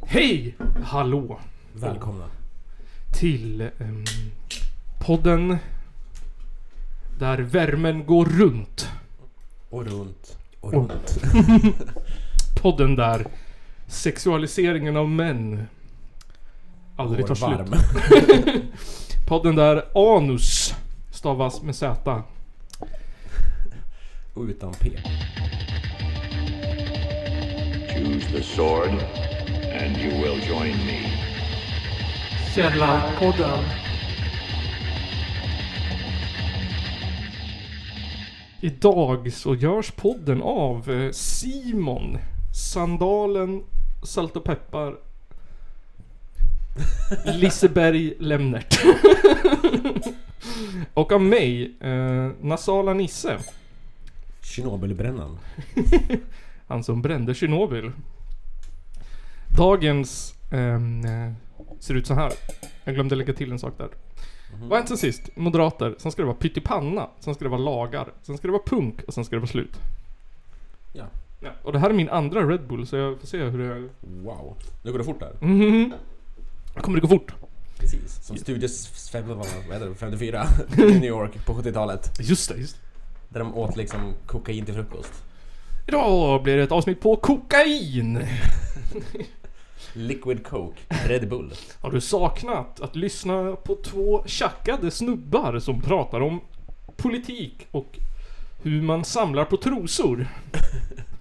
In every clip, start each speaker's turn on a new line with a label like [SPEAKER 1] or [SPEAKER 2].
[SPEAKER 1] Hej! Hallå!
[SPEAKER 2] Välkomna.
[SPEAKER 1] Till ehm, podden där värmen går runt.
[SPEAKER 2] Och runt. Och runt.
[SPEAKER 1] Podden där sexualiseringen av män aldrig tar
[SPEAKER 2] Går
[SPEAKER 1] slut.
[SPEAKER 2] varm.
[SPEAKER 1] Podden där anus stavas med Z.
[SPEAKER 2] Och utan P.
[SPEAKER 3] Choose the sword, and you will join me.
[SPEAKER 1] Källarpodden. Idag så görs podden av eh, Simon, Sandalen, Salt och Peppar, Liseberg Lemnert. och av mig, eh, Nasala Nisse.
[SPEAKER 2] Tjernobylbrännan.
[SPEAKER 1] Han som brände Tjernobyl. Dagens ehm, eh, ser ut så här. Jag glömde lägga till en sak där. Vad har hänt sen sist? Moderater, sen ska det vara pyttipanna, sen ska det vara lagar, sen ska det vara punk och sen ska det vara slut.
[SPEAKER 2] Ja.
[SPEAKER 1] Ja, och det här är min andra Red Bull så jag får se hur det...
[SPEAKER 2] Wow. Nu går det fort där.
[SPEAKER 1] Mhm. Kommer det gå fort?
[SPEAKER 2] Precis. Som Studios 54 i New York på 70-talet.
[SPEAKER 1] Just det, just det.
[SPEAKER 2] Där de åt liksom kokain till frukost.
[SPEAKER 1] Idag blir det ett avsnitt på kokain!
[SPEAKER 2] Liquid Coke. Red Bull.
[SPEAKER 1] Har du saknat att lyssna på två tjackade snubbar som pratar om politik och hur man samlar på trosor?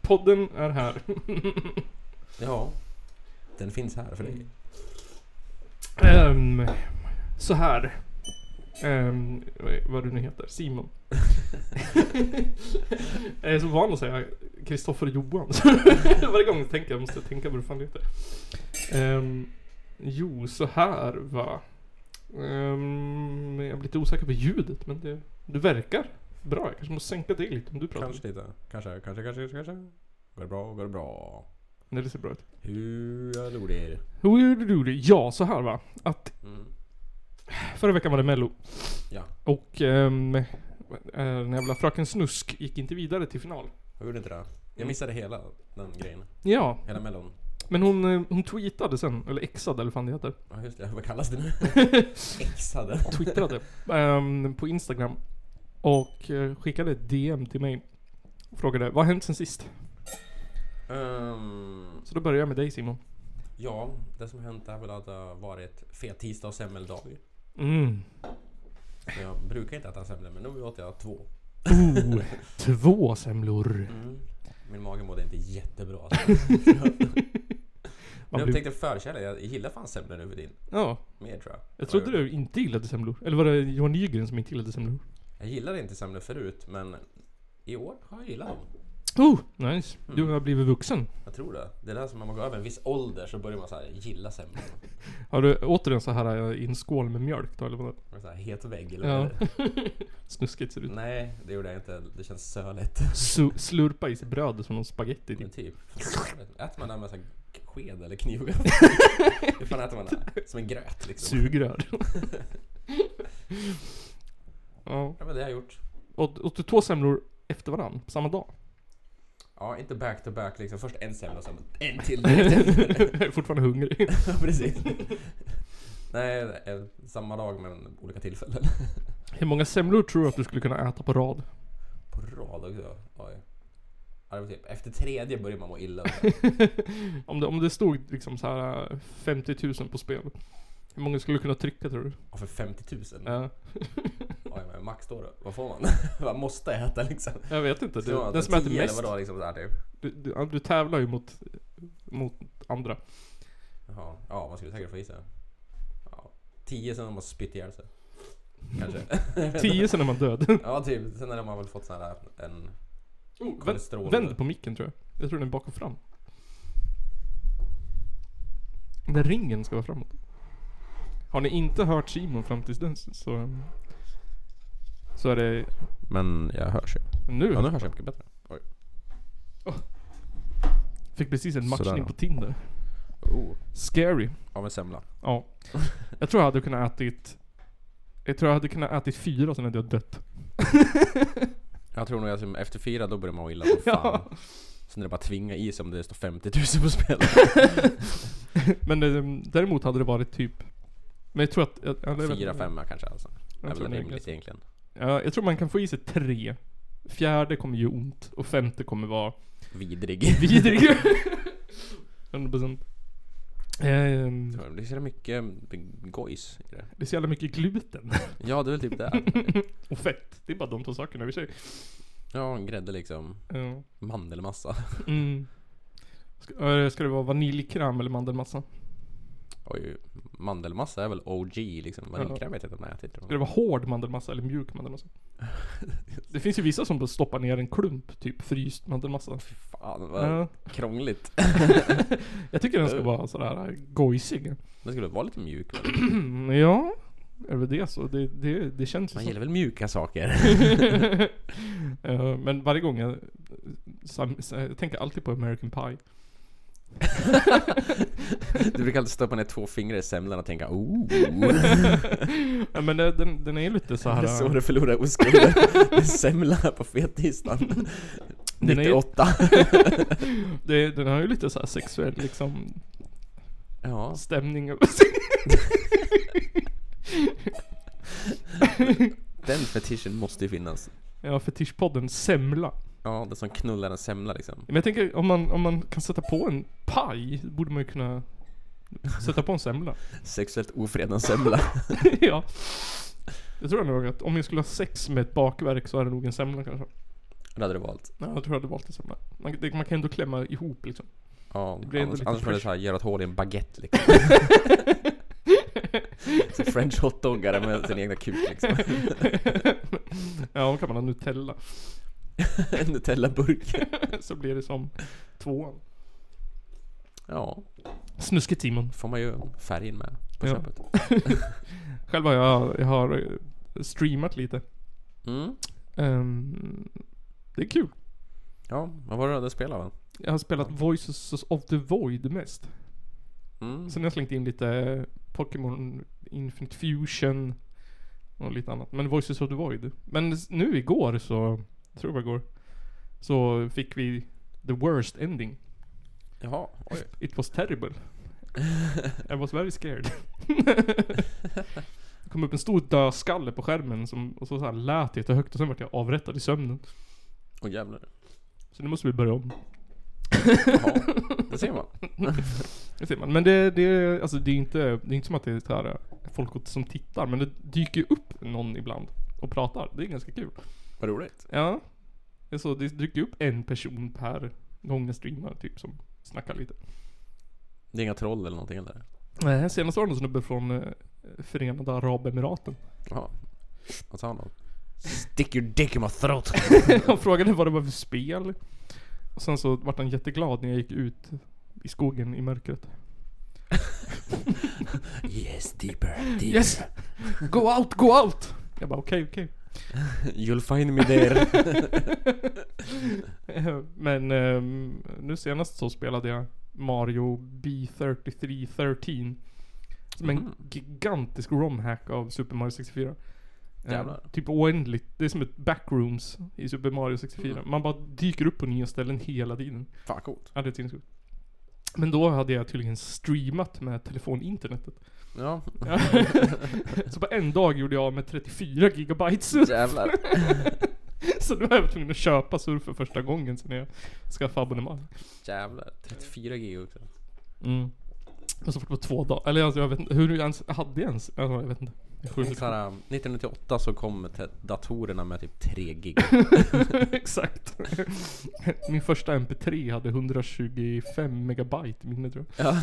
[SPEAKER 1] Podden är här.
[SPEAKER 2] Ja. Den finns här för dig.
[SPEAKER 1] Ehm, så här. Ehm, vad du nu heter. Simon. jag är så van att säga Kristoffer Johan. Så Varje gång jag tänker jag måste jag tänka vad det fan heter. Ehm, jo, så här va. Ehm, jag blir lite osäker på ljudet men det, det verkar bra. Jag kanske måste sänka det lite om du pratar.
[SPEAKER 2] Kanske lite. Kanske, kanske, kanske, kanske. Går det bra, går det bra.
[SPEAKER 1] När det ser bra ut.
[SPEAKER 2] Hur jag gjorde er.
[SPEAKER 1] Ja, så här va. Att
[SPEAKER 2] Mm.
[SPEAKER 1] förra veckan var det mello.
[SPEAKER 2] Ja.
[SPEAKER 1] Och ehm, eh, den jävla Fröken Snusk gick inte vidare till final.
[SPEAKER 2] Jag gjorde inte det. Jag missade hela den grejen.
[SPEAKER 1] Ja,
[SPEAKER 2] Hela mellon.
[SPEAKER 1] men hon, eh, hon tweetade sen, eller exade eller vad fan det heter.
[SPEAKER 2] Ja just det, vad kallas det nu? Exade.
[SPEAKER 1] Twittrade ehm, på Instagram. Och eh, skickade ett DM till mig. Och frågade vad har hänt sen sist?
[SPEAKER 2] Ehm,
[SPEAKER 1] Så då börjar jag med dig Simon.
[SPEAKER 2] ja, det som hänt är väl att det har varit fet tisdag och semmeldag.
[SPEAKER 1] Mm.
[SPEAKER 2] Men Jag brukar inte äta semlor men nu åt jag två.
[SPEAKER 1] Oh, Mm. två semlor.
[SPEAKER 2] Mm. Min mage mådde inte jättebra. alltså. Men
[SPEAKER 1] Man blir,
[SPEAKER 2] jag upptäckte förkärlek, jag gillar fan semlor nu för din.
[SPEAKER 1] ja,
[SPEAKER 2] Mer tror jag.
[SPEAKER 1] jag trodde du inte gillade semlor. Eller var det Johan Nygren som inte gillade semlor?
[SPEAKER 2] Jag gillade inte semlor förut men i år har jag gillat dem.
[SPEAKER 1] Oh, nice. Du
[SPEAKER 2] Mm.
[SPEAKER 1] har blivit vuxen.
[SPEAKER 2] Jag tror det. Det är det som när man går över en viss ålder så börjar man så här gilla semlor.
[SPEAKER 1] Har du återigen så här eh, i en skål med mjölk då eller vad?
[SPEAKER 2] Man är Så här het vägg eller
[SPEAKER 1] Ja.
[SPEAKER 2] ja.
[SPEAKER 1] Snuskigt ser det ut.
[SPEAKER 2] Nej, det gjorde jag inte. Det känns söligt.
[SPEAKER 1] Su- slurpa i sig bröd som någon spagetti
[SPEAKER 2] Men
[SPEAKER 1] typ.
[SPEAKER 2] typ. Äter man det med så här sked eller kniv? Hur fan äter man det? Som en gröt liksom.
[SPEAKER 1] Sugrör. ja.
[SPEAKER 2] Ja men det har jag gjort.
[SPEAKER 1] Och, och du två semlor efter varandra, på samma dag.
[SPEAKER 2] Ja, inte back to back liksom. Först en semla och sen en till direkt efter.
[SPEAKER 1] Jag är fortfarande hungrig.
[SPEAKER 2] Ja, Precis. Nej, det är samma dag men olika tillfällen.
[SPEAKER 1] Hur många semlor tror du att du skulle kunna äta på rad?
[SPEAKER 2] På rad också. Oj. Ja, det var typ. Efter tredje börjar man må illa.
[SPEAKER 1] om, det, om det stod liksom så här eh, 50 000 på spel. Hur många skulle du kunna trycka tror du?
[SPEAKER 2] Ja, för 50 000.
[SPEAKER 1] Ja.
[SPEAKER 2] Oj, men max då, då. Vad får man? man måste äta liksom.
[SPEAKER 1] jag vet inte.
[SPEAKER 2] Så
[SPEAKER 1] Det, den som äter
[SPEAKER 2] 10
[SPEAKER 1] mest.
[SPEAKER 2] Eller vadå, liksom, så här, typ.
[SPEAKER 1] Du, du, ja, du tävlar ju mot, mot andra.
[SPEAKER 2] Jaha, ja man skulle säkert få i sig. Ja. Tio sen har man spytt ihjäl sig. Kanske.
[SPEAKER 1] 10 sen är man död.
[SPEAKER 2] ja typ, sen har man väl fått sån här äh, en
[SPEAKER 1] Oh, vänd,
[SPEAKER 2] kolesterol...
[SPEAKER 1] vänd på micken tror jag. Jag tror den är bak och fram. Den ringen ska vara framåt. Har ni inte hört Simon fram tills dess så... Så är det...
[SPEAKER 2] Men jag hörs ju.
[SPEAKER 1] Nu!
[SPEAKER 2] Ja nu hörs jag mycket bättre.
[SPEAKER 1] Fick precis en
[SPEAKER 2] Sådär,
[SPEAKER 1] matchning
[SPEAKER 2] ja.
[SPEAKER 1] på Tinder.
[SPEAKER 2] Oh,
[SPEAKER 1] Scary.
[SPEAKER 2] av en semla.
[SPEAKER 1] Ja. Jag tror jag hade kunnat ätit... Jag tror jag hade kunnat ätit fyra sen hade jag dött.
[SPEAKER 2] Jag tror nog att som efter fyra då börjar man må illa som fan. Sen är det bara tvinga i sig om det står 50 000 på spel.
[SPEAKER 1] Men eh, däremot hade det varit typ... Men jag tror att... Jag, jag, jag vet
[SPEAKER 2] Fyra,
[SPEAKER 1] inte.
[SPEAKER 2] femma kanske alltså. Det
[SPEAKER 1] Jag
[SPEAKER 2] är
[SPEAKER 1] tror
[SPEAKER 2] väl
[SPEAKER 1] det är
[SPEAKER 2] rimligt egentligen.
[SPEAKER 1] Ja, jag tror man kan få i sig tre. Fjärde kommer ju ont och femte kommer vara
[SPEAKER 2] Vidrig.
[SPEAKER 1] vidrig. 100%. Ehm,
[SPEAKER 2] Det är så jävla mycket gojs i det.
[SPEAKER 1] det är så jävla mycket gluten
[SPEAKER 2] Ja, det är väl typ det.
[SPEAKER 1] och fett. Det är bara de två sakerna i sig.
[SPEAKER 2] Ja, grädde liksom.
[SPEAKER 1] Ja.
[SPEAKER 2] Mandelmassa.
[SPEAKER 1] Mm. Ska, eh, ska det vara vaniljkräm eller mandelmassa?
[SPEAKER 2] Oj, mandelmassa är väl OG liksom. Vaniljkräm vet jag inte om jag ätit.
[SPEAKER 1] Ska det vara hård mandelmassa eller mjuk mandelmassa? Det finns ju vissa som bara stoppar ner en klump, typ fryst mandelmassa.
[SPEAKER 2] Fy fan vad
[SPEAKER 1] Ja.
[SPEAKER 2] krångligt.
[SPEAKER 1] Jag tycker den ska vara sådär gojsig.
[SPEAKER 2] Den skulle vara lite mjuk. väl?
[SPEAKER 1] Ja, är väl det så. Det, det, det känns ju
[SPEAKER 2] Man
[SPEAKER 1] så.
[SPEAKER 2] gillar väl mjuka saker.
[SPEAKER 1] Eh, Men varje gång jag, sam, så- jag tänker alltid på American Pie.
[SPEAKER 2] Du brukar alltid stoppa ner två fingrar i semlan och tänka oh.
[SPEAKER 1] Ja, men eh, den, den är ju lite så
[SPEAKER 2] Det
[SPEAKER 1] här.
[SPEAKER 2] är så
[SPEAKER 1] eh,
[SPEAKER 2] du förlorar oskulden. Det är Semla på fettisdagen.
[SPEAKER 1] Den är ju-
[SPEAKER 2] 98.
[SPEAKER 1] det, den har ju lite så här sexuell liksom
[SPEAKER 2] Ja,
[SPEAKER 1] stämning.
[SPEAKER 2] den fetischen måste ju finnas.
[SPEAKER 1] Ja, fetischpodden semla.
[SPEAKER 2] Ja, det som knullar en semla liksom.
[SPEAKER 1] Men jag tänker om man, om man kan sätta på en paj, borde man ju kunna sätta på en semla.
[SPEAKER 2] Sexuellt ofredande semla.
[SPEAKER 1] ja. Jag tror nog att om jag skulle ha sex med ett bakverk så är det nog en semla kanske.
[SPEAKER 2] Det hade du valt.
[SPEAKER 1] Ja, jag tror jag hade valt en semla. Man, det, man kan ändå klämma ihop liksom.
[SPEAKER 2] Ja,
[SPEAKER 1] Det blir ändå
[SPEAKER 2] annars,
[SPEAKER 1] lite
[SPEAKER 2] annars får du
[SPEAKER 1] fresh.
[SPEAKER 2] såhär göra ett hål i en baguette liksom. Så French hotdoggare med sin egna kuk liksom.
[SPEAKER 1] ja, då kan man ha Nutella.
[SPEAKER 2] En Nutella-burk.
[SPEAKER 1] så blir det som tvåan.
[SPEAKER 2] Ja,
[SPEAKER 1] Snuskigt Simon.
[SPEAKER 2] får man ju färgen med på
[SPEAKER 1] Ja.
[SPEAKER 2] köpet.
[SPEAKER 1] Själv har jag, jag har eh, streamat lite.
[SPEAKER 2] Mm.
[SPEAKER 1] Ehm, det är kul.
[SPEAKER 2] Ja, vad var det du spelade va?
[SPEAKER 1] Jag har spelat Voices of the Void mest.
[SPEAKER 2] Mm.
[SPEAKER 1] Sen har jag slängt in lite eh, Pokémon Infinite Fusion och lite annat. Men Voices of the Void. Men s- nu igår så, jag tror det var igår, så fick vi the worst ending.
[SPEAKER 2] Jaha, oj.
[SPEAKER 1] It was terrible. I was very scared. det kom upp en stor dödskalle på skärmen som, och så, så här lät det jättehögt och sen vart jag avrättad i sömnen.
[SPEAKER 2] Åh jävlar.
[SPEAKER 1] Så nu måste vi börja om.
[SPEAKER 2] Jaha, det ser man.
[SPEAKER 1] Det ser man. Men det, det, alltså det är inte, det är inte som att det är så här eh, folk som tittar, men det dyker ju upp någon ibland och pratar. Det är ganska kul.
[SPEAKER 2] Vad roligt.
[SPEAKER 1] Ja. Det är så, det dyker ju upp en person per gång jag streamar typ som snackar lite.
[SPEAKER 2] Det är inga troll eller någonting eller?
[SPEAKER 1] Nej, senast var det någon snubbe från eh, Förenade Arabemiraten.
[SPEAKER 2] Ja. Vad sa han då? Stick your dick in my throat.
[SPEAKER 1] Han frågade vad det var för spel. Och sen så vart han jätteglad när jag gick ut i skogen i mörkret.
[SPEAKER 2] Yes, deeper, deeper.
[SPEAKER 1] Yes! Go out, go out! Jag bara okej, okej.
[SPEAKER 2] You'll find me there.
[SPEAKER 1] Eh, Men ehm, nu senast så spelade jag Mario B3313. Som en
[SPEAKER 2] Mhm.
[SPEAKER 1] gigantisk romhack av Super Mario 64. Eh,
[SPEAKER 2] Jävlar.
[SPEAKER 1] Typ oändligt. Det är som ett backrooms i Super Mario 64.
[SPEAKER 2] Mm.
[SPEAKER 1] Man bara dyker upp på nya ställen hela tiden.
[SPEAKER 2] Fan coolt.
[SPEAKER 1] Ja, det är sinnessjukt. Men då hade jag tydligen streamat med telefoninternetet.
[SPEAKER 2] Ja,
[SPEAKER 1] Ja. så på en dag gjorde jag av med 34 gigabytes.
[SPEAKER 2] jävlar.
[SPEAKER 1] Så nu var jag tvungen att köpa surf för första gången sen jag skaffade abonnemang.
[SPEAKER 2] Jävlar. 34 gig också.
[SPEAKER 1] Mm. Och så fort på två dagar. Eller alltså, jag vet inte. Hur jag ens hade jag ens? Alltså, jag vet inte. Det är sjukt.
[SPEAKER 2] Så här, 1998 så kom te- datorerna med typ 3 gig.
[SPEAKER 1] Exakt. Min första MP3 hade 125 megabyte minne tror
[SPEAKER 2] Ja.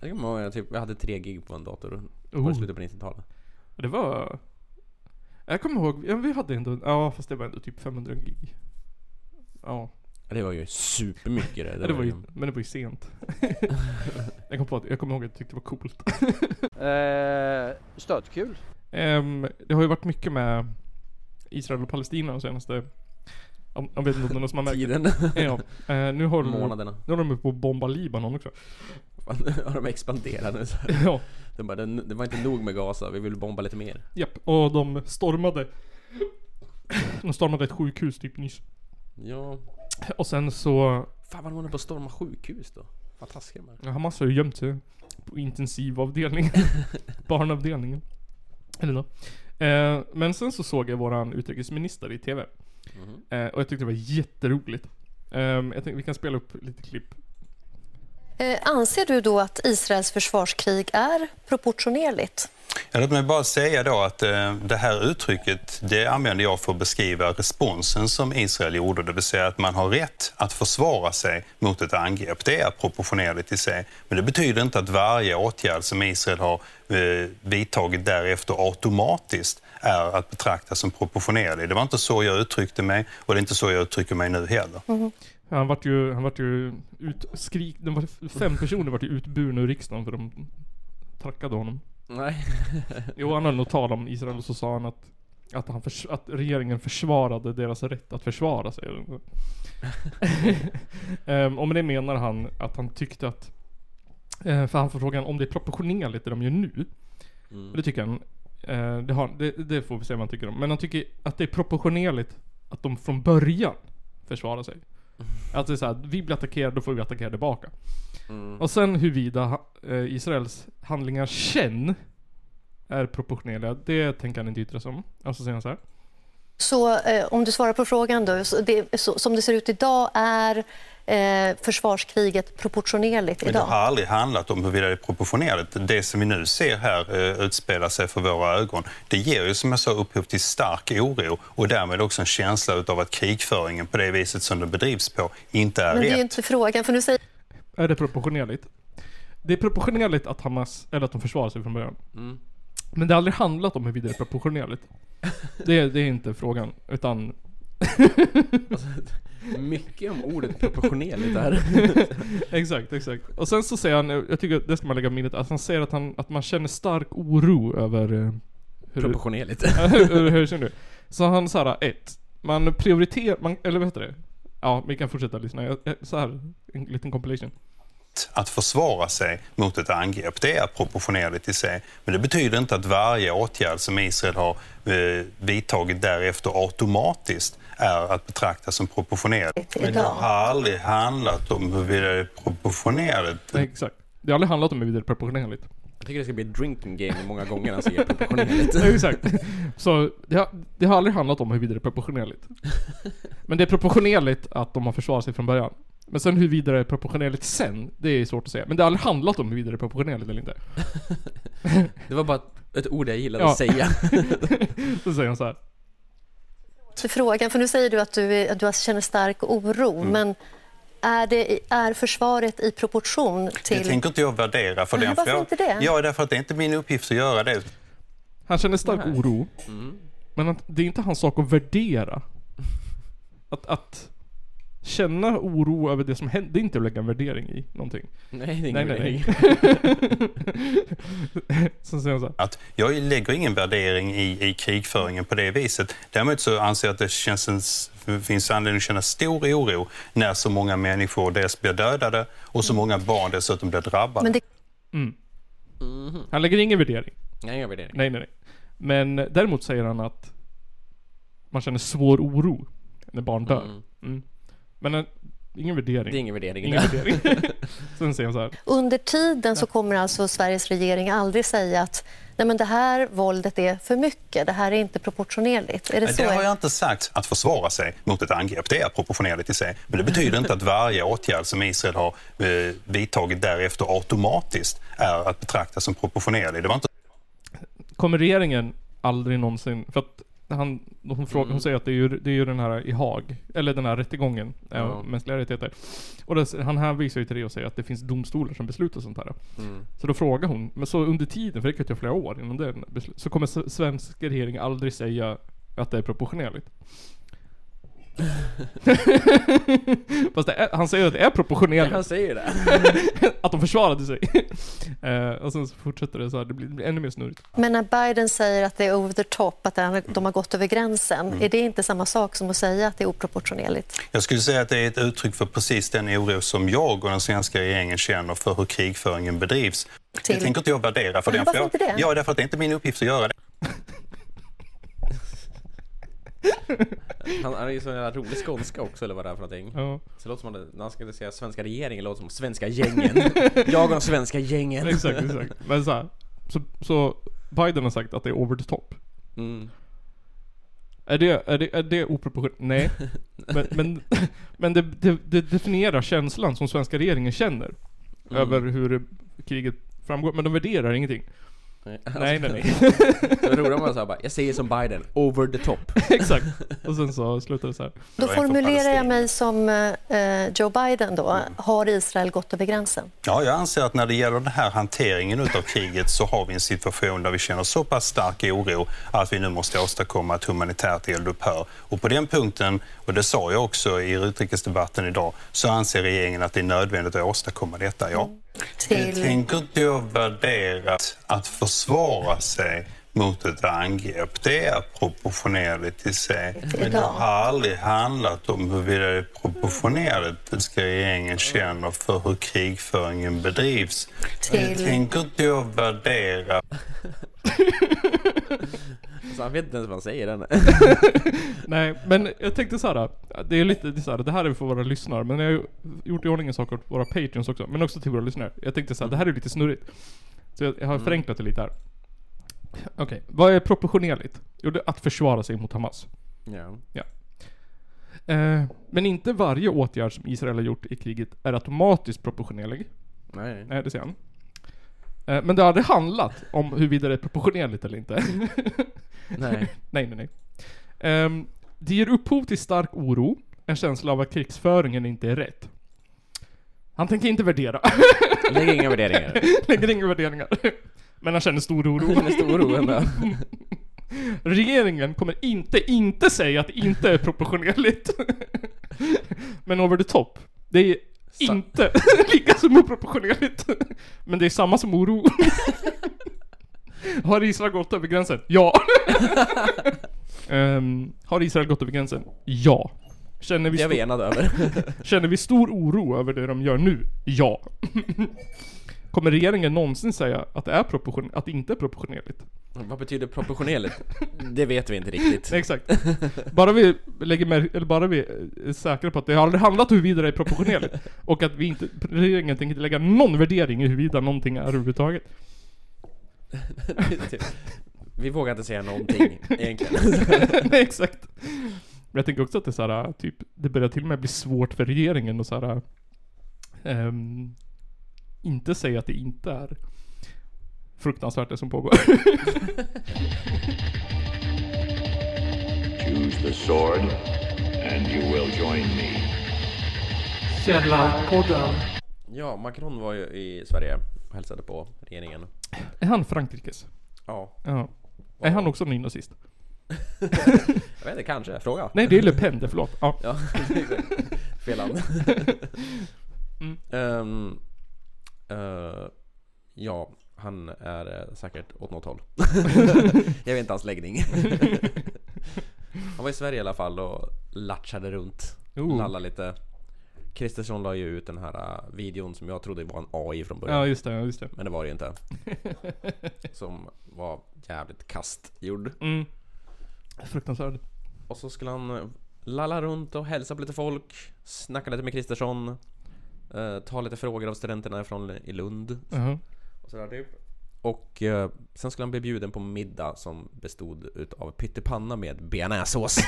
[SPEAKER 2] Jag kommer ihåg, jag typ, jag hade 3 gig på en dator.
[SPEAKER 1] jag.
[SPEAKER 2] På
[SPEAKER 1] Oh,
[SPEAKER 2] slutet på 90-talet.
[SPEAKER 1] det var... Jag kommer ihåg, ja, vi hade ändå, ja fast det var ändå typ 500 gig. Ja,
[SPEAKER 2] Det var ju supermycket det.
[SPEAKER 1] det var ju, men det var ju sent. jag, kom på att, jag kommer ihåg att jag tyckte det var coolt.
[SPEAKER 4] Eh, stötkul.
[SPEAKER 1] Ehm, det har ju varit mycket med Israel och Palestina de senaste... Jag, jag vet inte om det är någon som har märkt
[SPEAKER 2] Tiden,
[SPEAKER 1] det. Ja, eh, nu håller de...
[SPEAKER 2] månaderna.
[SPEAKER 1] Nu håller de på att bomba Libanon också.
[SPEAKER 2] Fan, nu har de expanderat nu så här.
[SPEAKER 1] Ja,
[SPEAKER 2] de bara, det, det var inte nog med Gaza, vi vill bomba lite mer.
[SPEAKER 1] japp. Och de stormade... De stormade ett sjukhus typ nyss.
[SPEAKER 2] Ja.
[SPEAKER 1] Och sen så...
[SPEAKER 2] Fan vad de håller på att storma sjukhus då? Vad taskiga de är.
[SPEAKER 1] Ja, Hamas har ju gömt sig på intensivavdelningen. Barnavdelningen. Eller nåt. Eh, men sen så såg jag våran utrikesminister i TV.
[SPEAKER 2] Mhm.
[SPEAKER 1] Eh, och jag tyckte det var jätteroligt. Eh, jag tänkte vi kan spela upp lite klipp.
[SPEAKER 5] Eh, Anser du då att Israels försvarskrig är proportionerligt?
[SPEAKER 6] Ja, låt mig bara säga då att eh, det här uttrycket det använder jag för att beskriva responsen som Israel gjorde, det vill säga att man har rätt att försvara sig mot ett angrepp. Det är proportionerligt i sig, men det betyder inte att varje åtgärd som Israel har eh, vidtagit därefter automatiskt är att betrakta som proportionerlig. Det var inte så jag uttryckte mig och det är inte så jag uttrycker mig nu heller.
[SPEAKER 1] Han vart ju, han vart ju utskrik... De var fem personer vart ju utburna ur riksdagen för de trackade honom.
[SPEAKER 2] Nej.
[SPEAKER 1] Jo, han höll något tal om Israel och så sa han att, att, han förs- att regeringen försvarade deras rätt att försvara sig. eller något. Ehm, och med det menar han att han tyckte att... eh, För han får frågan om det är proportionerligt det de gör nu.
[SPEAKER 2] Mm.
[SPEAKER 1] Och det tycker han. eh, Det, har, det, det får vi se vad han tycker om. Men han tycker att det är proportionerligt att de från början försvarar sig. Att det är såhär, vi blir attackerade, då får vi attackera tillbaka.
[SPEAKER 2] Mm.
[SPEAKER 1] Och sen huruvida ha- eh, Israels handlingar sen är proportionerliga, det tänker han inte yttra sig om. Alltså säger han så här.
[SPEAKER 5] Så eh, om du svarar på frågan då, så det, så, som det ser ut idag, är eh, försvarskriget proportionerligt
[SPEAKER 6] Men det
[SPEAKER 5] idag?
[SPEAKER 6] har aldrig handlat om huruvida det är proportionerligt. Det som vi nu ser här eh, utspela sig för våra ögon, det ger ju som jag sa upphov till stark oro och därmed också en känsla utav att krigföringen på det viset som den bedrivs på inte är
[SPEAKER 5] Men det är
[SPEAKER 6] rätt.
[SPEAKER 5] ju inte frågan, för nu säger
[SPEAKER 1] Är det proportionerligt? Det är proportionerligt att Hamas, eller att de försvarar sig från början.
[SPEAKER 2] Mm.
[SPEAKER 1] Men det har aldrig handlat om huruvida det är proportionerligt. Det, det är inte frågan, utan
[SPEAKER 2] Mycket om ordet proportionerligt där.
[SPEAKER 1] Exakt, exakt. Och sen så säger han, jag tycker att det ska man lägga i minnet, att han säger att, han, att man känner stark oro över... eh, Hur,
[SPEAKER 2] Proportionerligt.
[SPEAKER 1] hur, hur, hur känner du? Så han såhär, ett. Man prioriterar, man, eller vad heter det? Ja, vi kan fortsätta lyssna. Jag, jag, så här, en liten compilation.
[SPEAKER 6] att försvara sig mot ett angrepp. Det är proportionerligt i sig. Men det betyder inte att varje åtgärd som Israel har eh, vidtagit därefter automatiskt är att betrakta som proportionerligt. Men det har aldrig handlat om huruvida det är proportionerligt.
[SPEAKER 1] Exakt. Det har aldrig handlat om huruvida det är proportionerligt.
[SPEAKER 2] Jag tycker det ska bli ett drinking game många gånger alltså, han säger proportionerligt.
[SPEAKER 1] Exakt. Så det har, det har aldrig handlat om huruvida det är proportionerligt. Men det är proportionerligt att de har försvarat sig från början. Men sen huruvida det är proportionerligt sen, det är svårt att säga. Men det har aldrig handlat om huruvida det är proportionerligt eller inte.
[SPEAKER 2] Det var bara ett, ett ord jag gillade
[SPEAKER 1] Ja.
[SPEAKER 2] att säga.
[SPEAKER 1] Så säger han så här.
[SPEAKER 5] till frågan, för nu säger du att du, är- att du känner stark oro,
[SPEAKER 6] Mm.
[SPEAKER 5] men är, det, i- är försvaret i proportion
[SPEAKER 6] Det
[SPEAKER 5] till...
[SPEAKER 6] tänker inte jag värdera för
[SPEAKER 5] Nej,
[SPEAKER 6] den.
[SPEAKER 5] varför
[SPEAKER 6] för jag,
[SPEAKER 5] inte det?
[SPEAKER 6] Ja, därför att det är inte min uppgift att göra det.
[SPEAKER 1] Han känner stark
[SPEAKER 2] Nej.
[SPEAKER 1] oro.
[SPEAKER 2] Mm.
[SPEAKER 1] Men att, det är inte hans sak att värdera. Att, att känna oro över det som händer, det är inte att lägga en värdering i någonting.
[SPEAKER 2] Nej, det är
[SPEAKER 1] Nej,
[SPEAKER 2] ingen
[SPEAKER 1] nej,
[SPEAKER 2] värdering.
[SPEAKER 1] nej. Sen säger han så här.
[SPEAKER 6] Att jag lägger ingen värdering i, i krigföringen på det viset. Däremot så anser jag att det känns en, s- finns anledning att känna stor oro när så många människor dels blir dödade och så många barn dessutom blir drabbade.
[SPEAKER 5] Men det
[SPEAKER 1] Han lägger ingen värdering.
[SPEAKER 2] Nej, ingen värdering.
[SPEAKER 1] Nej, nej, nej. Men däremot säger han att man känner svår oro när barn dör. Mm. Men eh, ingen värdering.
[SPEAKER 2] Det är ingen värdering.
[SPEAKER 1] ingen värdering. Sen säger han så här.
[SPEAKER 5] Under tiden så kommer alltså Sveriges regering aldrig säga att Nej, men det här våldet är för mycket, det här är inte proportionerligt. Är det,
[SPEAKER 6] Nej,
[SPEAKER 5] så?
[SPEAKER 6] det har jag inte sagt. Att försvara sig mot ett angrepp, det är proportionerligt i sig. Men det betyder inte att varje åtgärd som Israel har eh, vidtagit därefter automatiskt är att betrakta som proportionerlig. Det var inte
[SPEAKER 1] kommer regeringen aldrig någonsin, för att han, hon, frågar, hon säger att det är, ju, det är ju den här i Haag, eller den här rättegången, eh,
[SPEAKER 2] Ja.
[SPEAKER 1] mänskliga rättigheter. Och det, han hänvisar ju till det och säger att det finns domstolar som beslutar sånt här.
[SPEAKER 2] Mm.
[SPEAKER 1] Så då frågar hon, men så under tiden, för det kan ju ta flera år innan den beslut, så kommer s- svensk regering aldrig säga att det är proportionerligt. Fast det är, han säger att det är proportionerligt
[SPEAKER 2] Han säger det.
[SPEAKER 1] att de försvarade sig. eh, och sen så fortsätter det så här, det blir, det blir ännu mer snurrigt.
[SPEAKER 5] Men när Biden säger att det är over the top, att det- de har gått över gränsen,
[SPEAKER 6] Mm.
[SPEAKER 5] är det inte samma sak som att säga att det är oproportionerligt?
[SPEAKER 6] Jag skulle säga att det är ett uttryck för precis den oro som jag och den svenska regeringen känner för hur krigföringen bedrivs. Det
[SPEAKER 5] Till-
[SPEAKER 6] tänker inte jag värdera. För
[SPEAKER 5] Nej,
[SPEAKER 6] den,
[SPEAKER 5] varför
[SPEAKER 6] för jag,
[SPEAKER 5] inte det?
[SPEAKER 6] Ja, därför att det är inte min uppgift att göra det.
[SPEAKER 2] Han han är ju så jävla rolig skånska också eller vad det är för någonting.
[SPEAKER 1] Ja,
[SPEAKER 2] Så det låter som att när han ska säga svenska regeringen, låter som svenska gängen. Jag och de svenska gängen.
[SPEAKER 1] exakt, exakt. Men så, här, så, så Biden har sagt att det är over the top.
[SPEAKER 2] Mm.
[SPEAKER 1] Är det, är det, är det oproportionerligt? Nej. Men, men, men det, det, det definierar känslan som svenska regeringen känner.
[SPEAKER 2] Mm.
[SPEAKER 1] Över hur kriget framgår. Men de värderar ingenting.
[SPEAKER 2] Nej,
[SPEAKER 1] Nej, nej, nej.
[SPEAKER 2] Det roliga var såhär bara, jag säger som Biden, over the top.
[SPEAKER 1] Exakt. Och sen så slutar det så här.
[SPEAKER 5] Då
[SPEAKER 6] Jag är från
[SPEAKER 5] formulerar jag
[SPEAKER 6] Palestina.
[SPEAKER 5] mig som eh, Joe Biden då.
[SPEAKER 6] Mm.
[SPEAKER 5] Har Israel gått över gränsen?
[SPEAKER 6] Ja, jag anser att när det gäller den här hanteringen utav kriget så har vi en situation där vi känner så pass stark oro att vi nu måste åstadkomma ett humanitärt eldupphör. Och på den punkten, och det sa jag också i utrikesdebatten idag, så anser regeringen att det är nödvändigt att åstadkomma detta, ja.
[SPEAKER 5] Mm. Till-
[SPEAKER 6] Det tänker inte jag värdera. Att försvara sig mot ett angrepp, det är proportionerligt i sig. Men det har aldrig handlat om huruvida det är proportionerligt det ska regeringen känner för hur krigföringen bedrivs. Det
[SPEAKER 5] Till-
[SPEAKER 6] tänker inte jag värdera.
[SPEAKER 2] Så han vet inte ens vad han säger än.
[SPEAKER 1] Nej, men jag tänkte så här. Det är lite det är så här, det här är för våra lyssnare. Men jag har ju gjort i ordning en sak åt våra patreons också. Men också till våra lyssnare. Jag tänkte så här, det här är lite snurrigt. Så jag, jag har förenklat det lite här. Okej, vad är proportionerligt? Jo, det är att försvara sig mot Hamas.
[SPEAKER 2] Ja.
[SPEAKER 1] Eh, men inte varje åtgärd som Israel har gjort i kriget är automatiskt proportionerlig.
[SPEAKER 2] Nej.
[SPEAKER 1] Nej, det ser han. Eh, men det hade handlat om huruvida det är proportionerligt eller inte.
[SPEAKER 2] Nej.
[SPEAKER 1] Nej, nej, nej. Ehm, det ger upphov till stark oro, en känsla av att krigsföringen inte är rätt. Han tänker inte värdera,
[SPEAKER 2] Lägg inga värderingar.
[SPEAKER 1] lägger inga värderingar. Men han känner stor oro.
[SPEAKER 2] Det är stor oro ändå.
[SPEAKER 1] Regeringen kommer inte, inte säga att det inte är proportionerligt. Men over the top. Det är
[SPEAKER 2] Sa-
[SPEAKER 1] inte lika som oproportionerligt. Men det är samma som oro. Har Israel gått över gränsen? Ja. Ehm, har Israel gått över gränsen? Ja. Känner vi,
[SPEAKER 2] Det är vi
[SPEAKER 1] stor,
[SPEAKER 2] enade över.
[SPEAKER 1] känner vi stor oro över det de gör nu? Ja. Kommer regeringen någonsin säga att det, är proportion, att det inte är proportionerligt?
[SPEAKER 2] Vad betyder proportionerligt? Det vet vi inte riktigt.
[SPEAKER 1] Nej, Exakt. Bara vi lägger med, eller bara vi är säkra på att det har aldrig handlat om huruvida det är proportionerligt. Och att vi inte, regeringen tänker inte lägga någon värdering i huruvida någonting är överhuvudtaget.
[SPEAKER 2] Typ. Vi vågar inte säga någonting egentligen.
[SPEAKER 1] Nej, exakt. Men jag tänker också att det är så här, typ, det börjar till och med bli svårt för regeringen att så här, eh, ehm, inte säga att det inte är fruktansvärt det som pågår.
[SPEAKER 3] Choose the sword, and you will join me.
[SPEAKER 2] Ja, Macron var ju i Sverige och hälsade på regeringen.
[SPEAKER 1] är han Frankrikes?
[SPEAKER 2] Ja,
[SPEAKER 1] Ja. Är han också nynazist?
[SPEAKER 2] jag vet inte, kanske. Fråga.
[SPEAKER 1] Nej, det är Le Pen, det, förlåt. Ja.
[SPEAKER 2] Ja, exakt. Fel land.
[SPEAKER 1] Mm.
[SPEAKER 2] Ehm, eh, ja, han är eh, säkert åt något håll. jag vet inte hans läggning. han var i Sverige i alla fall och latchade runt.
[SPEAKER 1] Oh.
[SPEAKER 2] Lallade lite. Kristersson la ju ut den här eh, videon som jag trodde var en AI från början.
[SPEAKER 1] ja, just det. Ja, just det.
[SPEAKER 2] Men det var det ju inte. Som var jävligt kastgjord.
[SPEAKER 1] Mm. Fruktansvärd.
[SPEAKER 2] Och så skulle han eh, lalla runt och hälsa på lite folk, snacka lite med Kristersson, eh, ta lite frågor av studenterna från i Lund.
[SPEAKER 1] Jaha.
[SPEAKER 2] Och, sådär, typ. och eh, sen skulle han bli bjuden på middag som bestod utav pyttipanna med bearnaisesås.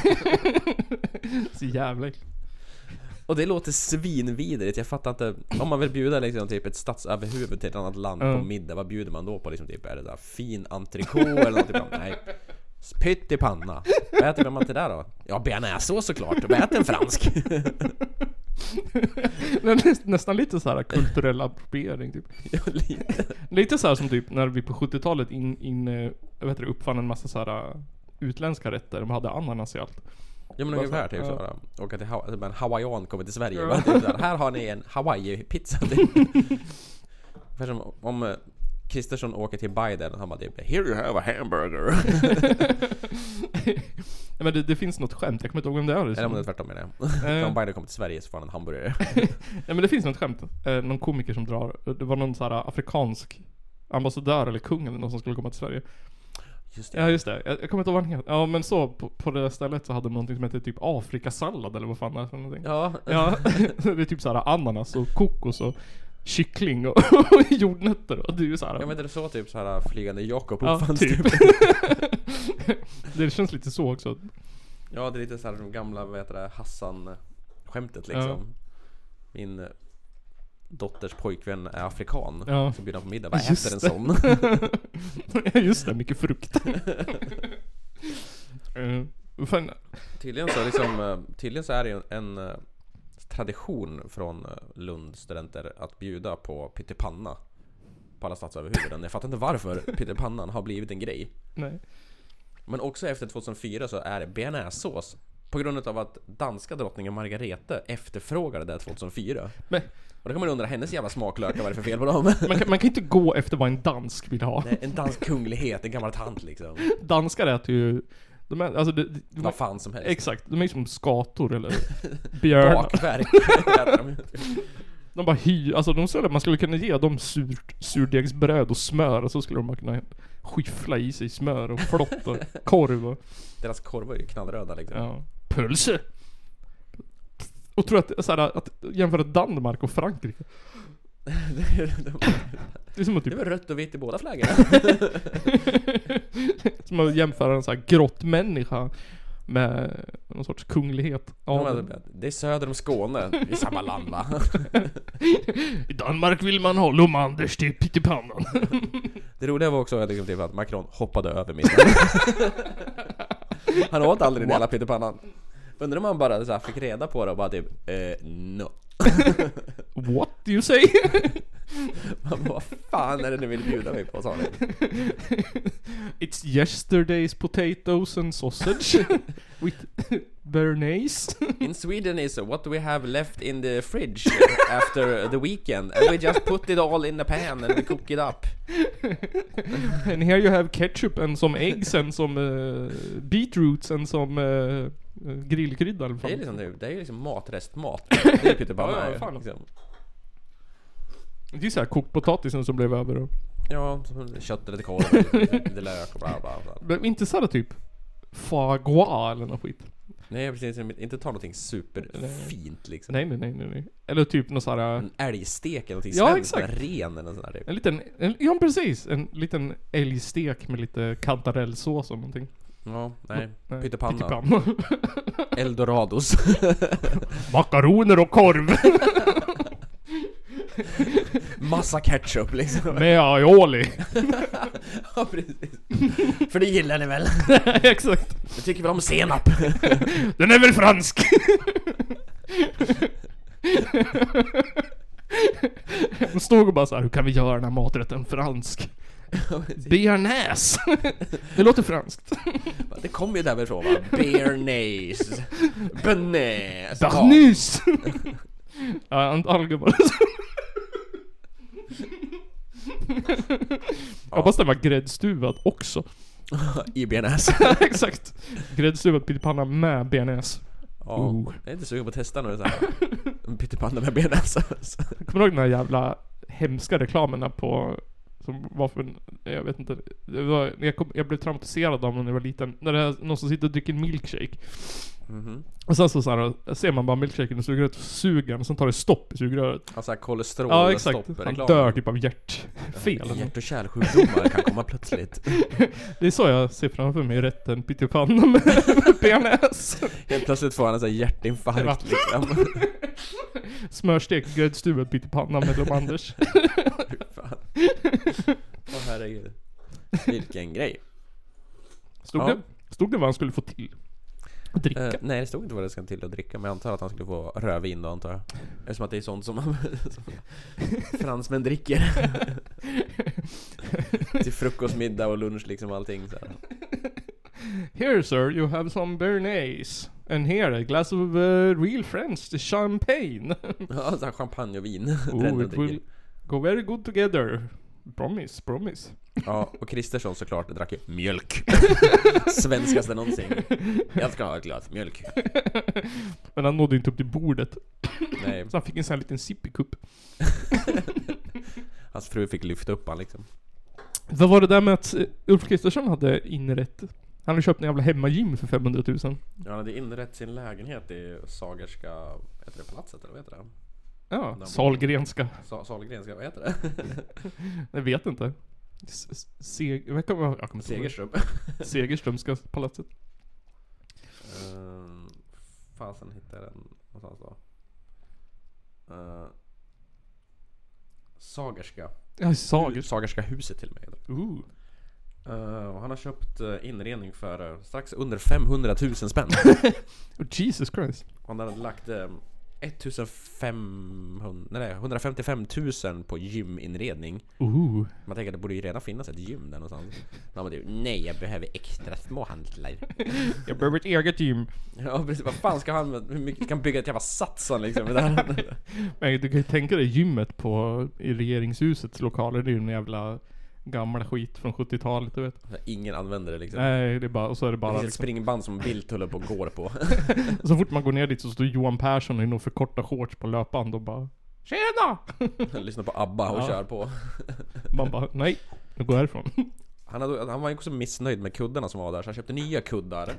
[SPEAKER 1] Så jävla äckligt.
[SPEAKER 2] och det låter svinvidrigt, jag fattar inte. Om man vill bjuda liksom typ ett statsöverhuvud till ett annat land
[SPEAKER 1] Ja.
[SPEAKER 2] på middag, vad bjuder man då på? Liksom, typ, är det där fin entrecote eller något? Typ, nej. Pyttipanna. Vad äter man till det då? Ja, bearnaisesås såklart. Vad äter en fransk?
[SPEAKER 1] Men näst- Nästan lite så här kulturell appropriering typ.
[SPEAKER 2] Ja, lite.
[SPEAKER 1] Lite så här som typ när vi på 70-talet in, in, eh, vad heter det, uppfann en massa så här eh, utländska rätter. De hade ananas i allt.
[SPEAKER 2] Ja men ungefär typ
[SPEAKER 1] Ja.
[SPEAKER 2] sådär. Och att det ha- typ en hawaiian kommer till Sverige.
[SPEAKER 1] Ja.
[SPEAKER 2] Bara, typ såhär, här har ni en hawaii-pizza. typ. Ungefär som om eh, Kristersson åker till Biden och han bara typ Here you have a hamburger.
[SPEAKER 1] Nej, men det, det finns något skämt, jag kommer inte ihåg vem det är. liksom.
[SPEAKER 2] Eller om det är
[SPEAKER 1] som-
[SPEAKER 2] tvärtom menar jag. om Biden kommer till Sverige så får han en hamburgare.
[SPEAKER 1] Nej men det finns något skämt. Eh, någon komiker som eh, drar, det var någon så här afrikansk ambassadör eller kung eller någon som skulle komma till Sverige.
[SPEAKER 2] Just det.
[SPEAKER 1] Ja just det, jag, jag kommer inte ihåg vad den heter. Ja men så, på, på det där stället så hade de någonting som hette typ Afrikasallad eller vad fan det är för någonting.
[SPEAKER 2] Ja.
[SPEAKER 1] Ja, det är typ såhär ananas och kokos och kyckling och, och jordnötter och det är ju såhär.
[SPEAKER 2] Ja men det är så typ så här flygande Jakob
[SPEAKER 1] Ja,
[SPEAKER 2] uppfanns
[SPEAKER 1] typ.
[SPEAKER 2] typ.
[SPEAKER 1] det känns lite så också.
[SPEAKER 2] Ja det är lite så här de gamla, vad heter det, Hassan-skämtet liksom. Min dotters pojkvän är afrikan.
[SPEAKER 1] Ja.
[SPEAKER 2] Så bjuder han på middag, vad
[SPEAKER 1] Just
[SPEAKER 2] äter en
[SPEAKER 1] det.
[SPEAKER 2] sån?
[SPEAKER 1] Ja just det, mycket frukt. Eh, fan,
[SPEAKER 2] Tydligen så, liksom, eh, tydligen så är det ju en eh, tradition från eh, Lunds studenter att bjuda på pyttipanna på alla statsöverhuvuden. Jag fattar inte varför pyttipannan har blivit en grej.
[SPEAKER 1] nej.
[SPEAKER 2] Men också efter 2004 så är det bearnaisesås. På grund av att danska drottningen Margarete efterfrågade det 2004.
[SPEAKER 1] Men-
[SPEAKER 2] Och då kan man undra, hennes jävla smaklökar, vad är det för fel på dem?
[SPEAKER 1] Man kan, man kan inte gå efter vad en dansk vill ha.
[SPEAKER 2] Nej, en dansk kunglighet, en gammal tant liksom.
[SPEAKER 1] Danskar äter ju, de är, alltså det, det,
[SPEAKER 2] Vad fan som helst.
[SPEAKER 1] Exakt, de är ju som skator eller björnar.
[SPEAKER 2] Bakverk äter de ju.
[SPEAKER 1] De bara hy, alltså de skulle, man skulle kunna ge dem surt, surdegsbröd och smör och så skulle de bara kunna skyffla i sig smör och flott och korv och,
[SPEAKER 2] Deras korvar är ju knallröda liksom.
[SPEAKER 1] ja. Pölse! Och tror att, så här, att jämföra Danmark och Frankrike,
[SPEAKER 2] Det är- de-
[SPEAKER 1] det är som att
[SPEAKER 2] Det
[SPEAKER 1] typ,
[SPEAKER 2] var rött och vitt i båda flaggorna.
[SPEAKER 1] som att jämföra en sån här grottmänniska med någon sorts kunglighet.
[SPEAKER 2] De
[SPEAKER 1] Ja,
[SPEAKER 2] bara, Det är söder om Skåne, i samma land va?
[SPEAKER 1] I Danmark vill man ha Lomanders till pyttipannan.
[SPEAKER 2] Det roliga var också att, liksom, typ, att Macron hoppade över middagen. han åt aldrig den jävla pyttipannan. Undrar om han bara så här, fick reda på det och bara typ eh, no.
[SPEAKER 1] What do you say?
[SPEAKER 2] Han bara, vad fan är det ni vill bjuda mig på sa han.
[SPEAKER 1] It's yesterday's potatoes and sausage with bearnaise.
[SPEAKER 2] In Sweden is what we have left in the fridge after the weekend. And we just put it all in the pan and we cook it up.
[SPEAKER 1] and here you have ketchup and some eggs and some uh, beetroots and some uh, grillkrydda eller
[SPEAKER 2] Det är
[SPEAKER 1] fan.
[SPEAKER 2] liksom, det är ju liksom matrestmat. Det är
[SPEAKER 1] Ja, ja,
[SPEAKER 2] pyttipanna
[SPEAKER 1] fan.
[SPEAKER 2] ju, liksom.
[SPEAKER 1] Det är såhär kokt potatisen som blev över och...
[SPEAKER 2] Ja, som kött eller till korv, eller lite lök och bla bla bla.
[SPEAKER 1] Men inte såhär typ foie gras eller något skit.
[SPEAKER 2] Nej precis, inte ta någonting superfint liksom.
[SPEAKER 1] Nej, nej, nej, nej, nej. Eller typ någon såhär...
[SPEAKER 2] En älgstek eller någonting
[SPEAKER 1] Ja,
[SPEAKER 2] svenskt,
[SPEAKER 1] exakt.
[SPEAKER 2] en ren eller sån där typ.
[SPEAKER 1] En liten, en, ja precis! En liten älgstek med lite kantarellsås och någonting.
[SPEAKER 2] Ja, nej.
[SPEAKER 1] Nej,
[SPEAKER 2] Pyttipanna.
[SPEAKER 1] eh, Pyttipanna.
[SPEAKER 2] Eldorados.
[SPEAKER 1] Makaroner och korv!
[SPEAKER 2] Massa ketchup liksom.
[SPEAKER 1] med aioli!
[SPEAKER 2] ja, precis. För det gillar ni väl?
[SPEAKER 1] Exakt!
[SPEAKER 2] Vi tycker väl om senap?
[SPEAKER 1] Den är väl fransk? De stod och bara såhär, hur kan vi göra den här maträtten fransk? Bearnaise! Det låter franskt.
[SPEAKER 2] det kommer ju därifrån va? Bearnaise. Bearnaise. Ja.
[SPEAKER 1] Barnus! Ja, en allgubbar. Jag hoppas den var gräddstuvad också.
[SPEAKER 2] I bearnaise.
[SPEAKER 1] Exakt. Gräddstuvad pyttipanna med bearnaise.
[SPEAKER 2] Ja.
[SPEAKER 1] Oh.
[SPEAKER 2] Jag är inte sugen på att testa nu så här. En pyttipanna med bearnaise.
[SPEAKER 1] Kommer du ihåg den här jävla hemska reklamerna på... Som var för... Jag vet inte. Det var, jag, kom, jag blev traumatiserad av den när jag var liten. När det är någon som sitter och dricker en milkshake.
[SPEAKER 2] Mhm.
[SPEAKER 1] Och sen så, så här, ser man bara milkshaken och sugröret och suger den. Sen tar det stopp i sugröret.
[SPEAKER 2] Alltså här kolesterol
[SPEAKER 1] Ja
[SPEAKER 2] och
[SPEAKER 1] exakt.
[SPEAKER 2] stopp,
[SPEAKER 1] Han
[SPEAKER 2] reklam.
[SPEAKER 1] dör typ av hjärtfel.
[SPEAKER 2] Hjärt och kärlsjukdomar kan komma plötsligt.
[SPEAKER 1] Det är så jag ser framför mig rätten pyttipanna med bearnaise.
[SPEAKER 2] Helt plötsligt får han en sån här hjärtinfarkt liksom.
[SPEAKER 1] Smörstekt gräddstuvad pyttipanna med Dom Anders.
[SPEAKER 2] Fy fan. Åh herregud. Vilken grej.
[SPEAKER 1] Stod,
[SPEAKER 2] Ja.
[SPEAKER 1] det, stod det vad han skulle få till? Att Dricka.
[SPEAKER 2] Eh, nej det stod inte vad det ska till att dricka men jag antar att han skulle få rödvin då antar jag. Eftersom att det är sånt som, man, som fransmän dricker. till frukost, middag och lunch liksom allting. Så här.
[SPEAKER 1] Here, sir, you have some bearnaise. And here, a glass of uh, real French champagne.
[SPEAKER 2] Ja, så här champagne och vin.
[SPEAKER 1] oh,
[SPEAKER 2] Bränner
[SPEAKER 1] it
[SPEAKER 2] dricker.
[SPEAKER 1] will go very good together. Promise, promise.
[SPEAKER 2] Ja, och Kristersson såklart drack ju mjölk. Svenskaste någonsin. Jag ska ha ett glas mjölk.
[SPEAKER 1] Men han nådde inte upp till bordet.
[SPEAKER 2] Nej,
[SPEAKER 1] Så han fick en sån här liten sippikupp.
[SPEAKER 2] hans fru fick lyfta upp han liksom.
[SPEAKER 1] Vad var det där med att eh, Ulf Kristersson hade inrett? Han hade köpt en jävla hemmagym för 500 000.
[SPEAKER 2] Han hade inrett sin lägenhet i Sagerska, heter det palatset eller vad heter det?
[SPEAKER 1] Ja, Sahlgrenska.
[SPEAKER 2] Sa, Sahlgrenska, vad heter det?
[SPEAKER 1] Jag vet inte. S- s- Seg... Jag kommer, jag kommer inte ihåg.
[SPEAKER 2] Segerstrup.
[SPEAKER 1] Segerströmska palatset.
[SPEAKER 2] Ehm, Fasen hittade jag den någonstans då? Eh, Sagerska.
[SPEAKER 1] Ja, Sagerska.
[SPEAKER 2] Sagerska huset till och med. heter det.
[SPEAKER 1] Ooh.
[SPEAKER 2] Eh, och han har köpt eh, inredning för eh, strax under 500 000 spänn.
[SPEAKER 1] Oh, Jesus Christ.
[SPEAKER 2] Och han hade lagt eh, 1500, nej, 155 000 på gyminredning.
[SPEAKER 1] Ooh.
[SPEAKER 2] Man tänker att det borde ju redan finnas ett gym där någonstans. Men han bara typ, nej jag behöver extra små hantlar.
[SPEAKER 1] Jag behöver ett eget gym.
[SPEAKER 2] Ja precis, vad fan ska han, hur mycket ska han bygga ett jävla Satsan liksom? Det här-
[SPEAKER 1] Men du kan ju tänka dig gymmet på, i regeringshusets lokaler. Det är ju en jävla gammal skit från 70-talet, du vet.
[SPEAKER 2] Ingen använder det liksom.
[SPEAKER 1] Nej, det är bara, och så är det
[SPEAKER 2] Det
[SPEAKER 1] bara
[SPEAKER 2] finns ett
[SPEAKER 1] liksom,
[SPEAKER 2] springband som Bildt håller på och går på.
[SPEAKER 1] Så fort man går ner dit så står Johan Persson i några för korta shorts på löpband och bara Tjena!
[SPEAKER 2] Lyssnar på ABBA och
[SPEAKER 1] Ja.
[SPEAKER 2] kör på.
[SPEAKER 1] Man bara nej, nu går jag härifrån.
[SPEAKER 2] Han, hade, han var ju också missnöjd med kuddarna som var där så han köpte nya kuddar.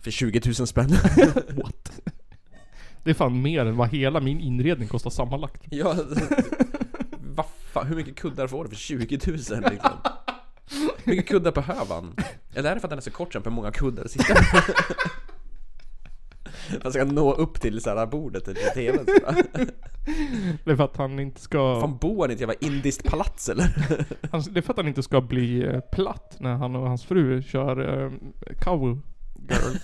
[SPEAKER 2] För 20 000 spänn.
[SPEAKER 1] What? Det är fan mer än vad hela min inredning kostar sammanlagt.
[SPEAKER 2] ja, vad fan, hur mycket kuddar får du för 20 000 liksom? Hur mycket kuddar behöver han? Eller är det för att den är så kort så han behöver många kuddar att sitta på? Han ska nå upp till så här bordet till tvn så här.
[SPEAKER 1] Det är för att han inte ska...
[SPEAKER 2] Fan bor han i ett jävla indiskt palats eller?
[SPEAKER 1] Han, det är för att han inte ska bli eh, platt när han och hans fru kör eh, cow girl.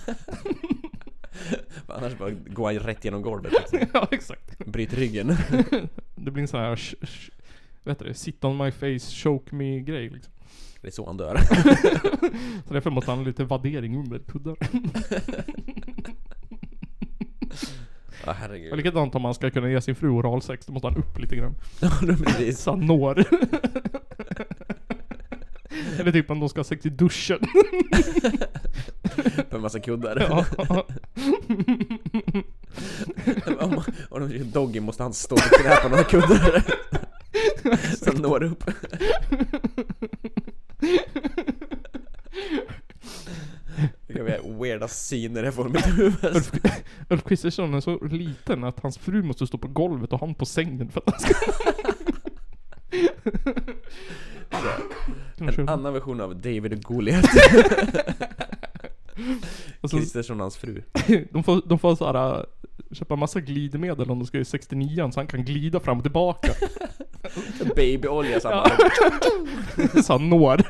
[SPEAKER 2] Annars bara går han ju rätt genom golvet liksom.
[SPEAKER 1] ja, exakt.
[SPEAKER 2] Bryt ryggen.
[SPEAKER 1] Det blir en sån här... Sh, sh, vad heter det? Sit on my face, choke me grej liksom.
[SPEAKER 2] Det är så han dör.
[SPEAKER 1] Så därför måste han ha lite vaddering under kuddar.
[SPEAKER 2] Ja
[SPEAKER 1] Och
[SPEAKER 2] herregud.
[SPEAKER 1] likadant om man ska kunna ge sin fru oralsex, då måste han upp lite grann.
[SPEAKER 2] Ja, precis.
[SPEAKER 1] Så han når. Eller typ om de ska ha sex i duschen.
[SPEAKER 2] På en massa kuddar.
[SPEAKER 1] Ja.
[SPEAKER 2] om, om de gör doggy måste han stå på knä på några kuddar. Så han når upp. Det kan bli weirda syner jag får i mitt huvud.
[SPEAKER 1] Ulf, Ulf Kristersson är så liten att hans fru måste stå på golvet och han på sängen för att han ska... Kunna
[SPEAKER 2] En
[SPEAKER 1] köra.
[SPEAKER 2] annan version av David och Goliat.
[SPEAKER 1] Och så-
[SPEAKER 2] Kristersson och hans fru.
[SPEAKER 1] De får, de får såhär, äh, köpa massa glidmedel om de ska i 69 så han kan glida fram och tillbaka.
[SPEAKER 2] Babyolja samma.
[SPEAKER 1] Så han når.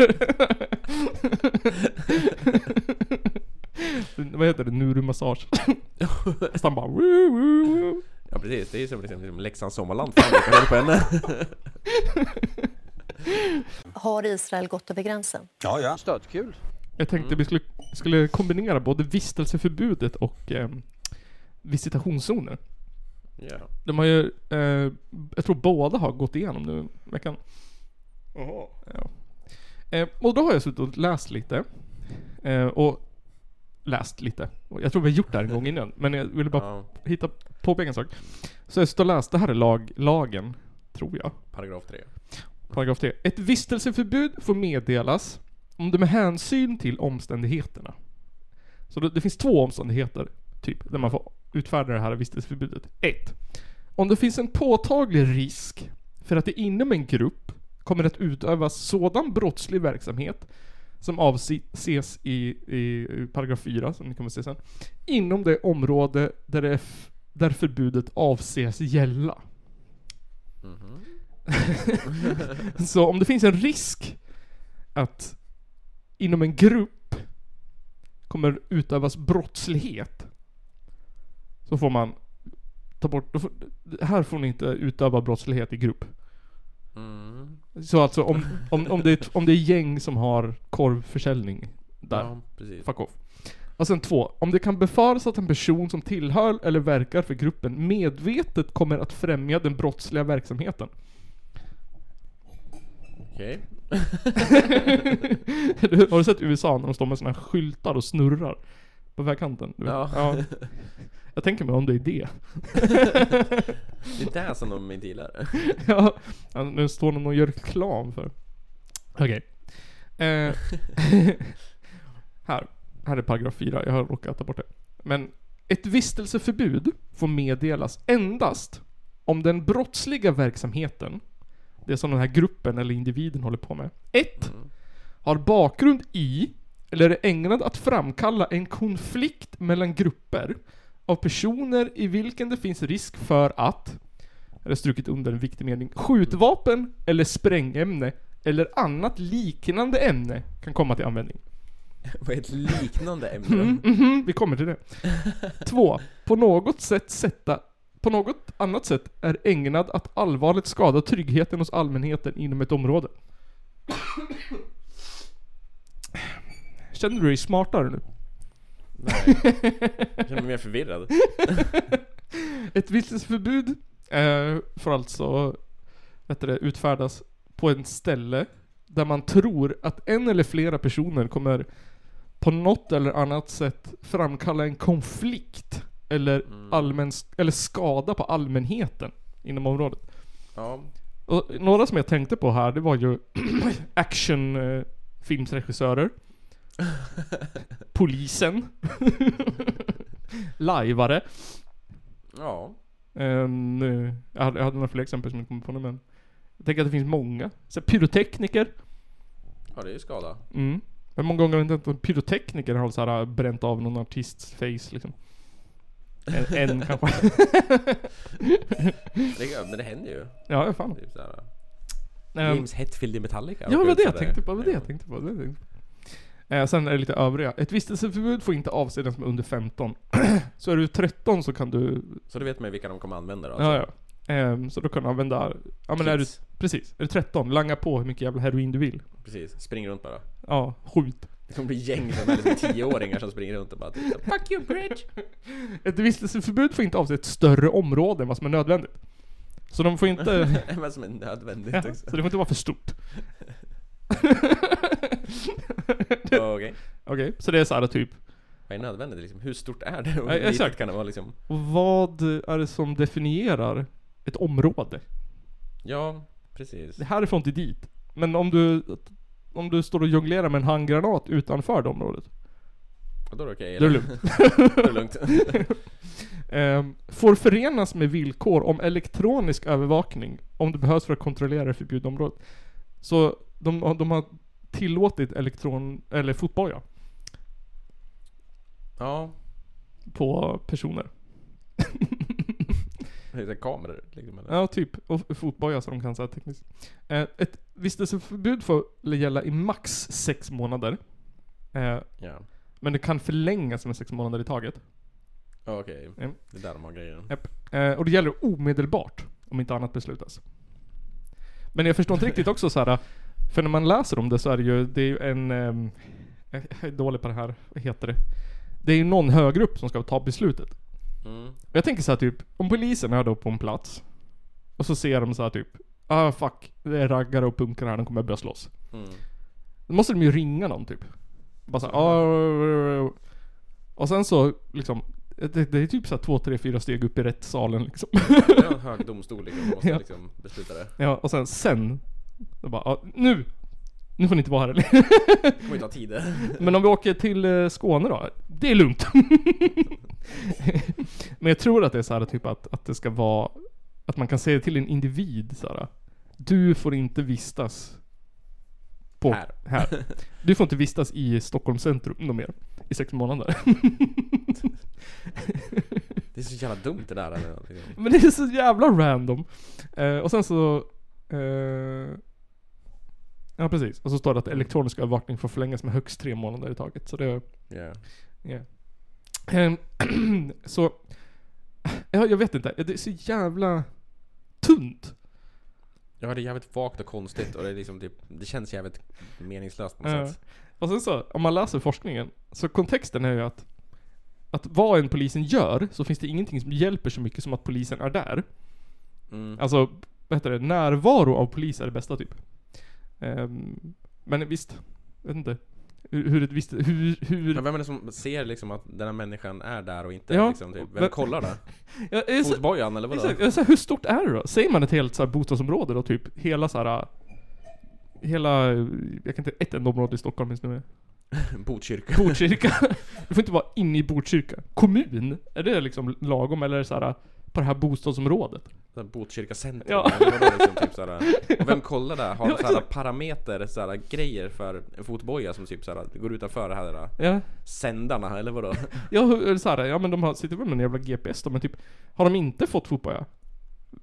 [SPEAKER 1] Vad heter det? Nurumassage. Så han bara woo, woo, woo.
[SPEAKER 2] Ja precis, det är ju som liksom, liksom Leksands sommarland. Fan, jag kan hålla på henne.
[SPEAKER 5] Har Israel gått över gränsen?
[SPEAKER 6] Ja, ja.
[SPEAKER 4] Stötkul.
[SPEAKER 1] Jag tänkte vi skulle, skulle kombinera både vistelseförbudet och eh, visitationszoner.
[SPEAKER 2] Ja.
[SPEAKER 1] De har ju, eh, jag tror båda har gått igenom nu i veckan. Ja. Eh, och då har jag suttit och läst lite. Eh, och läst lite. Och jag tror vi har gjort det här en gång innan, men jag ville bara
[SPEAKER 2] Ja,
[SPEAKER 1] hitta, påpeka en sak. Så jag suttit och läst, det här är lag, lagen, tror jag.
[SPEAKER 2] paragraf 3.
[SPEAKER 1] Paragraf 3. Ett vistelseförbud får meddelas om det med hänsyn till omständigheterna. Så det, det finns två omständigheter, typ, där man får utfärda det här vistelseförbudet. 1. Om det finns en påtaglig risk för att det inom en grupp kommer att utövas sådan brottslig verksamhet som avses i, i paragraf 4, som ni kommer att se sen, inom det område där, det är f- där förbudet avses gälla.
[SPEAKER 2] Mhm.
[SPEAKER 1] Så om det finns en risk att inom en grupp kommer utövas brottslighet så får man ta bort, då får, här får ni inte utöva brottslighet i grupp.
[SPEAKER 2] Mm.
[SPEAKER 1] Så alltså om, om, om, det, är ett- om det är gäng som har korvförsäljning där.
[SPEAKER 2] Ja, precis.
[SPEAKER 1] Fuck off. Och sen två. Om det kan befaras att en person som tillhör eller verkar för gruppen medvetet kommer att främja den brottsliga verksamheten.
[SPEAKER 2] Okej.
[SPEAKER 1] Du, Har du sett USA när de står med såna här skyltar och snurrar? På vägkanten? du vet?
[SPEAKER 2] Ja.
[SPEAKER 1] Jag tänker mig om det är det.
[SPEAKER 2] Det är det som de inte gillar.
[SPEAKER 1] ja, nu står någon och gör reklam för. Okej. Eh, här. Här är paragraf 4. Jag har råkat ta bort det. Men ett vistelseförbud får meddelas endast om den brottsliga verksamheten, det som den här gruppen eller individen håller på med, 1. Har bakgrund i eller är ägnad att framkalla en konflikt mellan grupper av personer i vilken det finns risk för att jag har strukit under en viktig mening. Skjutvapen eller sprängämne eller annat liknande ämne kan komma till användning.
[SPEAKER 2] Vad är ett liknande ämne?
[SPEAKER 1] Mm, mhm, vi kommer till det. Två. På något sätt sätta på något annat sätt är ägnad att allvarligt skada tryggheten hos allmänheten inom ett område. Känner du dig smartare nu?
[SPEAKER 2] Nej. Jag känner mig mer förvirrad.
[SPEAKER 1] Ett vistelseförbud eh, får alltså vet du, det, utfärdas på en ställe där man tror att en eller flera personer kommer på något eller annat sätt framkalla en konflikt
[SPEAKER 2] Mm.
[SPEAKER 1] eller, allmän, eller skada på allmänheten inom området.
[SPEAKER 2] Ja.
[SPEAKER 1] Och några som jag tänkte på här, det var ju eh, actionfilmsregissörer. polisen. Lajvare.
[SPEAKER 2] Ja.
[SPEAKER 1] Ehm, eh, jag, hade, jag hade några fler exempel som jag inte kommer på nu men. Jag tänker att det finns många. Så här, pyrotekniker.
[SPEAKER 2] Ja, det är ju skada.
[SPEAKER 1] Mm. Hur många gånger har inte en pyrotekniker har så här äh, bränt av någon artists face liksom? En, en kanske.
[SPEAKER 2] Det, men det händer ju.
[SPEAKER 1] Ja, ja, fan.
[SPEAKER 2] Typ såhär.
[SPEAKER 1] Ehm,
[SPEAKER 2] James Hetfield i Metallica.
[SPEAKER 1] Ja, det var det jag
[SPEAKER 2] råkade
[SPEAKER 1] tänkte
[SPEAKER 2] ut
[SPEAKER 1] på.
[SPEAKER 2] för
[SPEAKER 1] Det var det jag tänkte på. Det var det jag tänkte på. Eh, sen är det lite övriga. Ett vistelseförbud får inte avse den som är under 15. så är du 13 så kan du...
[SPEAKER 2] Så du vet man ju vilka de kommer använda då?
[SPEAKER 1] Ja, ja. Ehm, så då kan du använda... Ja men är du...
[SPEAKER 2] Kids.
[SPEAKER 1] Precis. Är du 13, langa på hur mycket jävla heroin du vill.
[SPEAKER 2] alltså? Precis, spring runt bara.
[SPEAKER 1] Ja, skjut.
[SPEAKER 2] Det kommer bli gäng som är liksom tioåringar som springer runt och bara typ, såhär, Fuck you bridge!
[SPEAKER 1] Ett vistelseförbud får inte avse ett större område än vad som är nödvändigt. Så de får inte...
[SPEAKER 2] Men som är nödvändigt
[SPEAKER 1] ja,
[SPEAKER 2] också.
[SPEAKER 1] så det får inte vara för stort.
[SPEAKER 2] Ja, Okej.
[SPEAKER 1] Okej, så det är såhär typ...
[SPEAKER 2] Vad är nödvändigt liksom? Hur stort är det? Och
[SPEAKER 1] Ja,
[SPEAKER 2] hur
[SPEAKER 1] exakt.
[SPEAKER 2] litet kan det vara liksom?
[SPEAKER 1] Vad är det som definierar ett område?
[SPEAKER 2] Ja, precis.
[SPEAKER 1] Det härifrån till dit. Men om du, om du står och jonglerar med en handgranat utanför det området,
[SPEAKER 2] Och då är det okej.
[SPEAKER 1] då är det
[SPEAKER 2] eller?
[SPEAKER 1] lugnt.
[SPEAKER 2] Då är det lugnt.
[SPEAKER 1] Ehm, får förenas med villkor om elektronisk övervakning om det behövs för att kontrollera det förbjudna området. Så de, har- de har tillåtit elektron, eller fotboja
[SPEAKER 2] Ja.
[SPEAKER 1] på personer.
[SPEAKER 2] Det är så här kameror liksom. Eller?
[SPEAKER 1] Ja, typ. Och fotboja så de kan säga tekniskt. Eh, ett vistelseförbud får gälla i max sex månader. Eh,
[SPEAKER 2] Ja.
[SPEAKER 1] men det kan förlängas med sex månader i taget.
[SPEAKER 2] Ja, Okej.
[SPEAKER 1] Mm.
[SPEAKER 2] Det är där de har grejen.
[SPEAKER 1] Japp. Eh, och det gäller omedelbart, om inte annat beslutas. Men jag förstår inte riktigt också så här. för när man läser om det så är det ju, det är ju en... ehm, jag är dålig på det här, vad heter det? Det är ju någon högre upp som ska ta beslutet.
[SPEAKER 2] Mm.
[SPEAKER 1] Och Jag tänker så här typ, om polisen är då på en plats, och så ser de så här typ, ah fuck, det är raggare och punkare här, de kommer börja slåss.
[SPEAKER 2] Mm.
[SPEAKER 1] Då måste de ju ringa någon typ. Bara såhär, "Ah." Och sen så liksom, det, det är typ såhär två, tre, fyra steg upp i rättssalen liksom.
[SPEAKER 2] Det är en hög domstol liksom. Man måste
[SPEAKER 1] Ja.
[SPEAKER 2] liksom besluta det.
[SPEAKER 1] Ja, och sen, sen. Då bara, ja, nu! Nu får ni inte vara här eller?
[SPEAKER 2] Det kommer ju ta tid det.
[SPEAKER 1] Men om vi åker till eh, Skåne då? Det är lugnt. Men jag tror att det är så här typ att, att det ska vara, att man kan säga till en individ så här. Du får inte vistas på,
[SPEAKER 2] Här.
[SPEAKER 1] här. Du får inte vistas i Stockholms centrum något mer. I sex månader.
[SPEAKER 2] Det är så jävla dumt det där. eller, Liksom.
[SPEAKER 1] Men det är så jävla random. Eh, och sen så... Eh, ja precis. Och så står det att elektronisk övervakning får förlängas med högst tre månader i taget. Så det...
[SPEAKER 2] Ja.
[SPEAKER 1] Yeah. Ehm, så... Ja, jag vet inte. Det är så jävla tunt.
[SPEAKER 2] Ja, det är jävligt vagt och konstigt och det är liksom typ, det känns jävligt meningslöst på något
[SPEAKER 1] Ja.
[SPEAKER 2] sätt.
[SPEAKER 1] Eh, Och sen så, om man läser forskningen, så kontexten är ju att att vad en polisen gör, så finns det ingenting som hjälper så mycket som att polisen är där.
[SPEAKER 2] Mm.
[SPEAKER 1] Alltså, vad heter det? Närvaro av polis är det bästa typ. Ehm, men visst, jag vet inte. Hur, hur ett visst, hur,
[SPEAKER 2] Men
[SPEAKER 1] hur...
[SPEAKER 2] vem är det som ser liksom att den här människan är där och inte
[SPEAKER 1] Ja.
[SPEAKER 2] liksom typ, vem
[SPEAKER 1] Men-
[SPEAKER 2] kollar det?
[SPEAKER 1] Jag är så,
[SPEAKER 2] Fotbojan eller vadå?
[SPEAKER 1] alltså, exakt, jag är så, här, hur stort är det då? Säger man ett helt så här bostadsområde då typ, hela så här hela, jag kan inte ett enda område i Stockholm just nu.
[SPEAKER 2] Botkyrka.
[SPEAKER 1] Botkyrka. Du får inte vara inne i Botkyrka. Kommun? Är det liksom lagom eller är det så här på det här bostadsområdet?
[SPEAKER 2] Såhär Botkyrka centrum.
[SPEAKER 1] Ja.
[SPEAKER 2] eller vadå, liksom, typ såhär. Och vem kollar där? Har
[SPEAKER 1] Ja,
[SPEAKER 2] de såhär parameter, såhär grejer för en fotboja som typ såhär går utanför det här där,
[SPEAKER 1] Ja.
[SPEAKER 2] sändarna eller vadå?
[SPEAKER 1] Ja, hur- eller så här, ja men de har, sitter väl med en jävla GPS då, men typ Har de inte fått fotboja?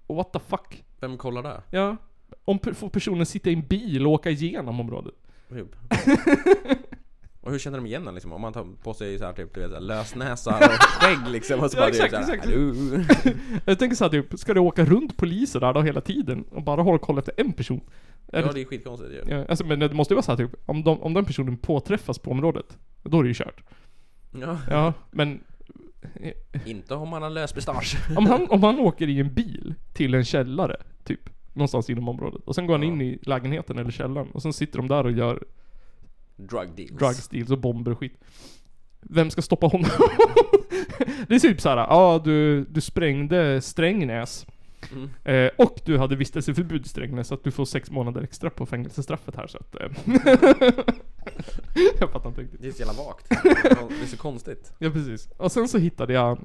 [SPEAKER 1] What the fuck?
[SPEAKER 2] Vem kollar där?
[SPEAKER 1] Ja Om per, får personen sitta i en bil och åka igenom området?
[SPEAKER 2] Typ. Och hur känner de igen den liksom? Om man tar på sig såhär typ du vet, såhär, lösnäsa och skägg liksom och så
[SPEAKER 1] Ja,
[SPEAKER 2] bara
[SPEAKER 1] exakt,
[SPEAKER 2] typ såhär,
[SPEAKER 1] exakt.
[SPEAKER 2] "Hallå."
[SPEAKER 1] Jag tänker såhär typ, ska du åka runt poliser där då hela tiden? Och bara hålla koll efter en person? Är
[SPEAKER 2] Ja
[SPEAKER 1] det,
[SPEAKER 2] det är skitkonstigt ju.
[SPEAKER 1] ja, alltså men det måste ju vara såhär typ, om, de, om den personen påträffas på området Då är det ju kört
[SPEAKER 2] Ja.
[SPEAKER 1] Ja, men
[SPEAKER 2] Inte om man har lös pistage.
[SPEAKER 1] om han, om han åker i en bil till en källare, typ Någonstans inom området och sen går han
[SPEAKER 2] Ja.
[SPEAKER 1] in i lägenheten eller källaren och sen sitter de där och gör
[SPEAKER 2] Drug deals.
[SPEAKER 1] drugs deals och bomber och skit. Vem ska stoppa honom? det är typ såhär, ja ah, du, du sprängde Strängnäs.
[SPEAKER 2] Mm.
[SPEAKER 1] Eh, och du hade vistelseförbud i Strängnäs så att du får sex månader extra på fängelsestraffet här så att... Eh. jag fattar inte riktigt.
[SPEAKER 2] Det är så jävla vagt. Det är så konstigt.
[SPEAKER 1] Ja precis. Och sen så hittade jag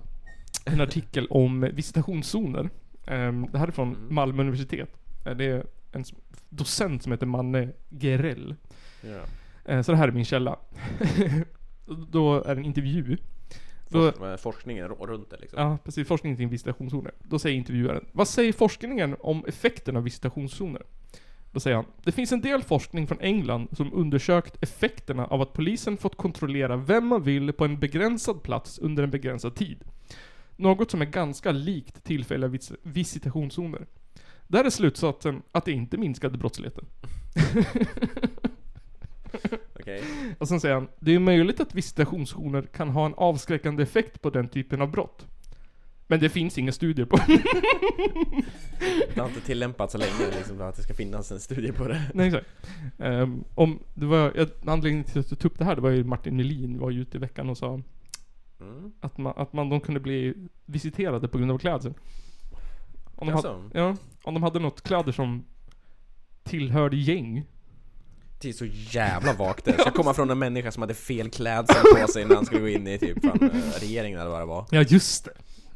[SPEAKER 1] en artikel om visitationszoner. Ehm, det här är från
[SPEAKER 2] Mm.
[SPEAKER 1] Malmö universitet. Eh, Det är en s- docent som heter Manne Gerell.
[SPEAKER 2] Ja.
[SPEAKER 1] Eh, Så det här är min källa. Då är det en intervju. Då,
[SPEAKER 2] Forsk- eh, forskningen rå- runt det liksom.
[SPEAKER 1] ja, precis. Forskning kring visitationszoner. Då säger intervjuaren. Vad säger forskningen om effekten av visitationszoner? Då säger han. Det finns en del forskning från England som undersökt effekterna av att polisen fått kontrollera vem man vill på en begränsad plats under en begränsad tid. Något som är ganska likt tillfälliga vis- visitationszoner. Där är slutsatsen att det inte minskade brottsligheten.
[SPEAKER 2] Okej.
[SPEAKER 1] Och sen säger han, det är möjligt att visitationszoner kan ha en avskräckande effekt på den typen av brott. Men det finns inga studier på det.
[SPEAKER 2] Det har inte tillämpats så länge liksom, att det ska finnas en studie på det.
[SPEAKER 1] Nej, exakt. Ehm, om, det var, ett- anledningen till att jag tog upp det här, det var ju Martin Melin var ju ute i veckan och sa
[SPEAKER 2] Mm.
[SPEAKER 1] att, man, att man, de kunde bli visiterade på grund av klädseln. Om de, hade,
[SPEAKER 2] Jaså?
[SPEAKER 1] ja, om de hade något kläder som tillhörde gäng.
[SPEAKER 2] Det är så jävla vagt det. Ska komma från en människa som hade fel klädsel på sig när han skulle gå in i typ fan, eh, regeringen eller vad det var.
[SPEAKER 1] Ja, just det.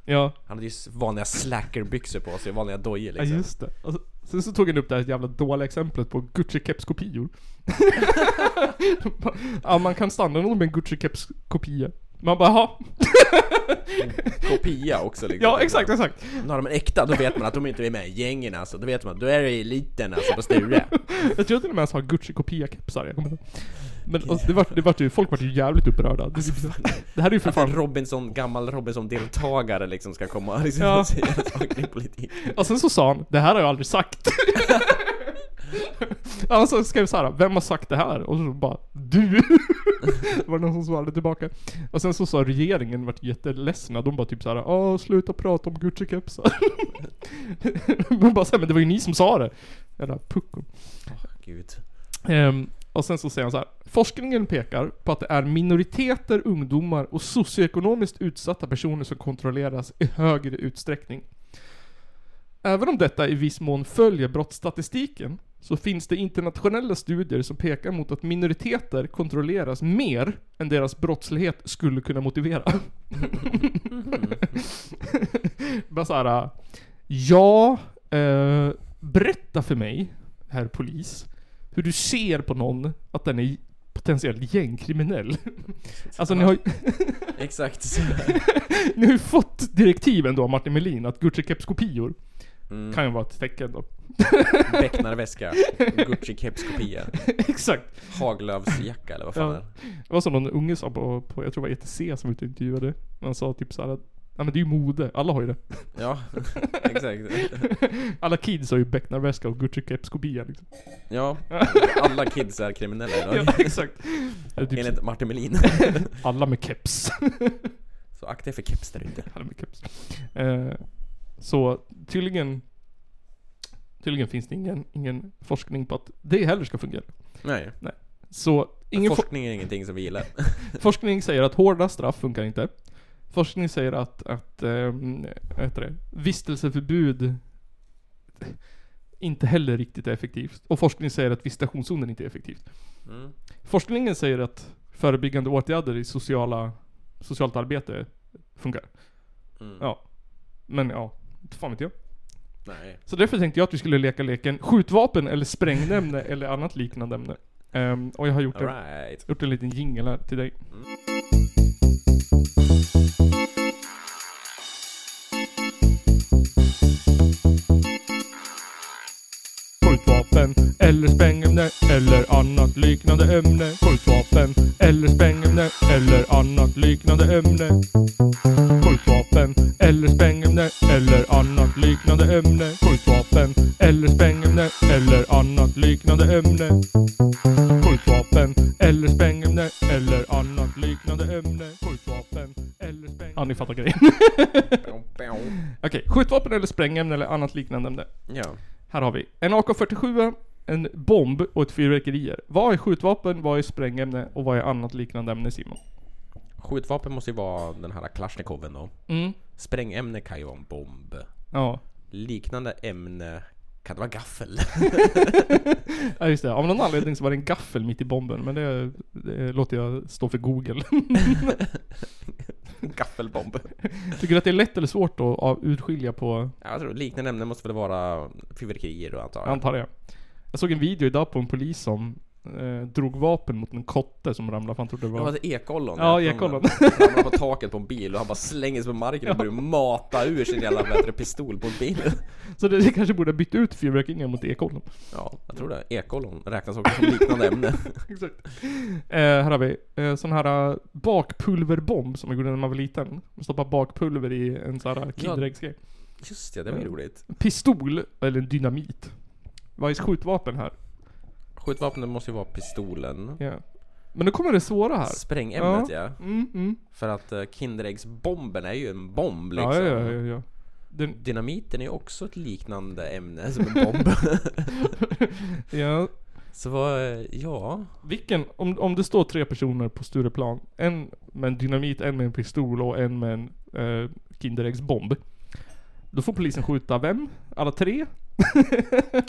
[SPEAKER 1] Ja,
[SPEAKER 2] Han hade ju s- vanliga slackerbyxor på sig, vanliga dojor
[SPEAKER 1] ja
[SPEAKER 2] liksom.
[SPEAKER 1] just det. Och så, sen så tog han upp det här jävla dåliga exemplet på Gucci-keps-kopior. ja, man kan stanna någon med en Gucci-keps-kopia. Man bara, jaha.
[SPEAKER 2] Kopia också liksom.
[SPEAKER 1] Ja, exakt, exakt.
[SPEAKER 2] Nu har de en äkta, då vet man att de inte är med i gängen alltså. Då vet man, då är det eliten alltså på Sture.
[SPEAKER 1] Jag tror jag till och med jag sa Gucci-kopia-kepsar. Jag kommer ihåg. Men och, det var, det var ju, folk var ju jävligt upprörda. Det, det här är ju för
[SPEAKER 2] Att en
[SPEAKER 1] fan...
[SPEAKER 2] Robinson, gammal Robinson-deltagare liksom ska komma liksom,
[SPEAKER 1] Ja.
[SPEAKER 2] och säga saker i politik.
[SPEAKER 1] Och sen så sa han, det här har jag aldrig sagt. Alltså skrev såhär, vem har sagt det här? Och så bara, du! var det någon som svarade tillbaka. Och sen så sa regeringen, vart jätteledsna, de bara typ såhär, åh sluta prata om Gucci-kepsar. De bara såhär, men det var ju ni som sa det. Jävla puckon.
[SPEAKER 2] Gud.
[SPEAKER 1] Ehm, och sen så säger han så här. Forskningen pekar på att det är minoriteter, ungdomar och socioekonomiskt utsatta personer som kontrolleras i högre utsträckning. Även om detta i viss mån följer brottsstatistiken så finns det internationella studier som pekar mot att minoriteter kontrolleras mer än deras brottslighet skulle kunna motivera. Bara såhär, ja, eh, berätta för mig, herr polis, hur du ser på någon att den är potentiellt gängkriminell. Alltså ni har, ju-
[SPEAKER 2] Exakt.
[SPEAKER 1] ni har ju fått direktiven då av Martin Melin att Gucci Keps kopior
[SPEAKER 2] Mm.
[SPEAKER 1] kan ju vara ett tecken då.
[SPEAKER 2] Becknarväska, Gucci-keps-kopia,
[SPEAKER 1] Exakt.
[SPEAKER 2] Haglöfsjacka eller vad fan
[SPEAKER 1] Ja.
[SPEAKER 2] är det?
[SPEAKER 1] Det var som någon unge sa på, på jag tror det var ETC som var ute och intervjuade. Han sa typ såhär att, ja men det är ju mode, alla har ju det.
[SPEAKER 2] Ja, exakt.
[SPEAKER 1] Alla kids har ju becknarväska och Gucci Keps kopia liksom.
[SPEAKER 2] Ja, alla kids är kriminella idag.
[SPEAKER 1] Ja, exakt. Det är typ
[SPEAKER 2] Enligt Martin Melin.
[SPEAKER 1] alla med keps.
[SPEAKER 2] Så akta er för keps där ute.
[SPEAKER 1] Han är med keps. Eh, så tydligen Tydligen finns det ingen, ingen forskning på att det heller ska fungera.
[SPEAKER 2] Nej,
[SPEAKER 1] Så ingen for
[SPEAKER 2] forskning är ingenting som vi gillar.
[SPEAKER 1] forskning säger att hårda straff funkar inte. Forskning säger att, att ehm, vad heter det, vistelseförbud inte heller riktigt är effektivt. Och forskningen säger att visitationszonen inte är effektivt.
[SPEAKER 2] Mm.
[SPEAKER 1] Forskningen säger att förebyggande åtgärder i sociala, socialt arbete funkar.
[SPEAKER 2] Mm.
[SPEAKER 1] Ja. Men ja, inte fan vet jag.
[SPEAKER 2] Nej.
[SPEAKER 1] Så därför tänkte jag att vi skulle leka leken skjutvapen eller sprängämne eller annat liknande ämne. Ehm, och jag har gjort, en,
[SPEAKER 2] Alright.
[SPEAKER 1] gjort en liten jingle här till dig. Skjutvapen eller sprängämne eller annat liknande ämne. Skjutvapen eller sprängämne eller annat liknande ämne. Skjutvapen eller sprängämne eller annat liknande ämne. Skjutvapen eller sprängämne eller annat liknande ämne. Skjutvapen eller sprängämne eller annat liknande ämne. Skjutvapen eller sprängämne... Ja, ni fattar grejen. Okej, skjutvapen eller sprängämne eller annat liknande ämne.
[SPEAKER 2] Ja.
[SPEAKER 1] Här har vi en AK47, en bomb och ett fyrverkerier. Vad är skjutvapen, vad är sprängämne och vad är annat liknande ämne Simon?
[SPEAKER 2] Skjutvapen måste ju vara den här Kalashnikoven då.
[SPEAKER 1] Mm.
[SPEAKER 2] Sprängämne kan ju vara en bomb.
[SPEAKER 1] Ja.
[SPEAKER 2] Liknande ämne kan det vara gaffel?
[SPEAKER 1] ja, just det. Av någon anledning så var det en gaffel mitt i bomben, men det, det låter jag stå för Google.
[SPEAKER 2] Gaffelbomb.
[SPEAKER 1] Tycker du att det är lätt eller svårt då att urskilja på,
[SPEAKER 2] Ja, jag tror liknande ämnen måste väl vara fyrverkerier då antar
[SPEAKER 1] jag
[SPEAKER 2] jag.
[SPEAKER 1] antar jag. Jag såg en video idag på en polis som eh, drog vapen mot en kotte som ramlade, för han trodde det
[SPEAKER 2] Det
[SPEAKER 1] var...
[SPEAKER 2] var ett ekollon.
[SPEAKER 1] Ja,
[SPEAKER 2] jag tror
[SPEAKER 1] ekollon.
[SPEAKER 2] det. Han ramlar på taket på en bil och han bara slänger sig på marken och börjar mata ur sin jävla vad heter det, pistol på bilen.
[SPEAKER 1] Så det, det kanske borde ha bytt ut fyrverkerierna mot ekollen.
[SPEAKER 2] Ja, jag tror det. Ekollon räknas också som liknande ämne.
[SPEAKER 1] Exakt. Eh, här har vi eh, sån här eh, bakpulverbomb som man gjorde när man var liten. Man stoppar bakpulver i en sån här kinderäggsgrej.
[SPEAKER 2] Just det, det var ju roligt.
[SPEAKER 1] Pistol, eller dynamit. Vad är skjutvapen här?
[SPEAKER 2] Skjutvapnet måste ju vara pistolen.
[SPEAKER 1] Ja. Men nu kommer det svåra här.
[SPEAKER 2] Sprängämnet ja.
[SPEAKER 1] Mm, mm.
[SPEAKER 2] För att eh, Kinderäggsbomben är ju en bomb liksom.
[SPEAKER 1] Ja, ja, ja, ja, ja. Den,
[SPEAKER 2] Dynamiten är ju också ett liknande ämne som en bomb.
[SPEAKER 1] ja.
[SPEAKER 2] Så vad, eh, ja.
[SPEAKER 1] Vilken, om, om det står tre personer på Stureplan, en med en dynamit, en med en pistol och en med en eh, kinderäggsbomb. Då får polisen skjuta vem? Alla tre?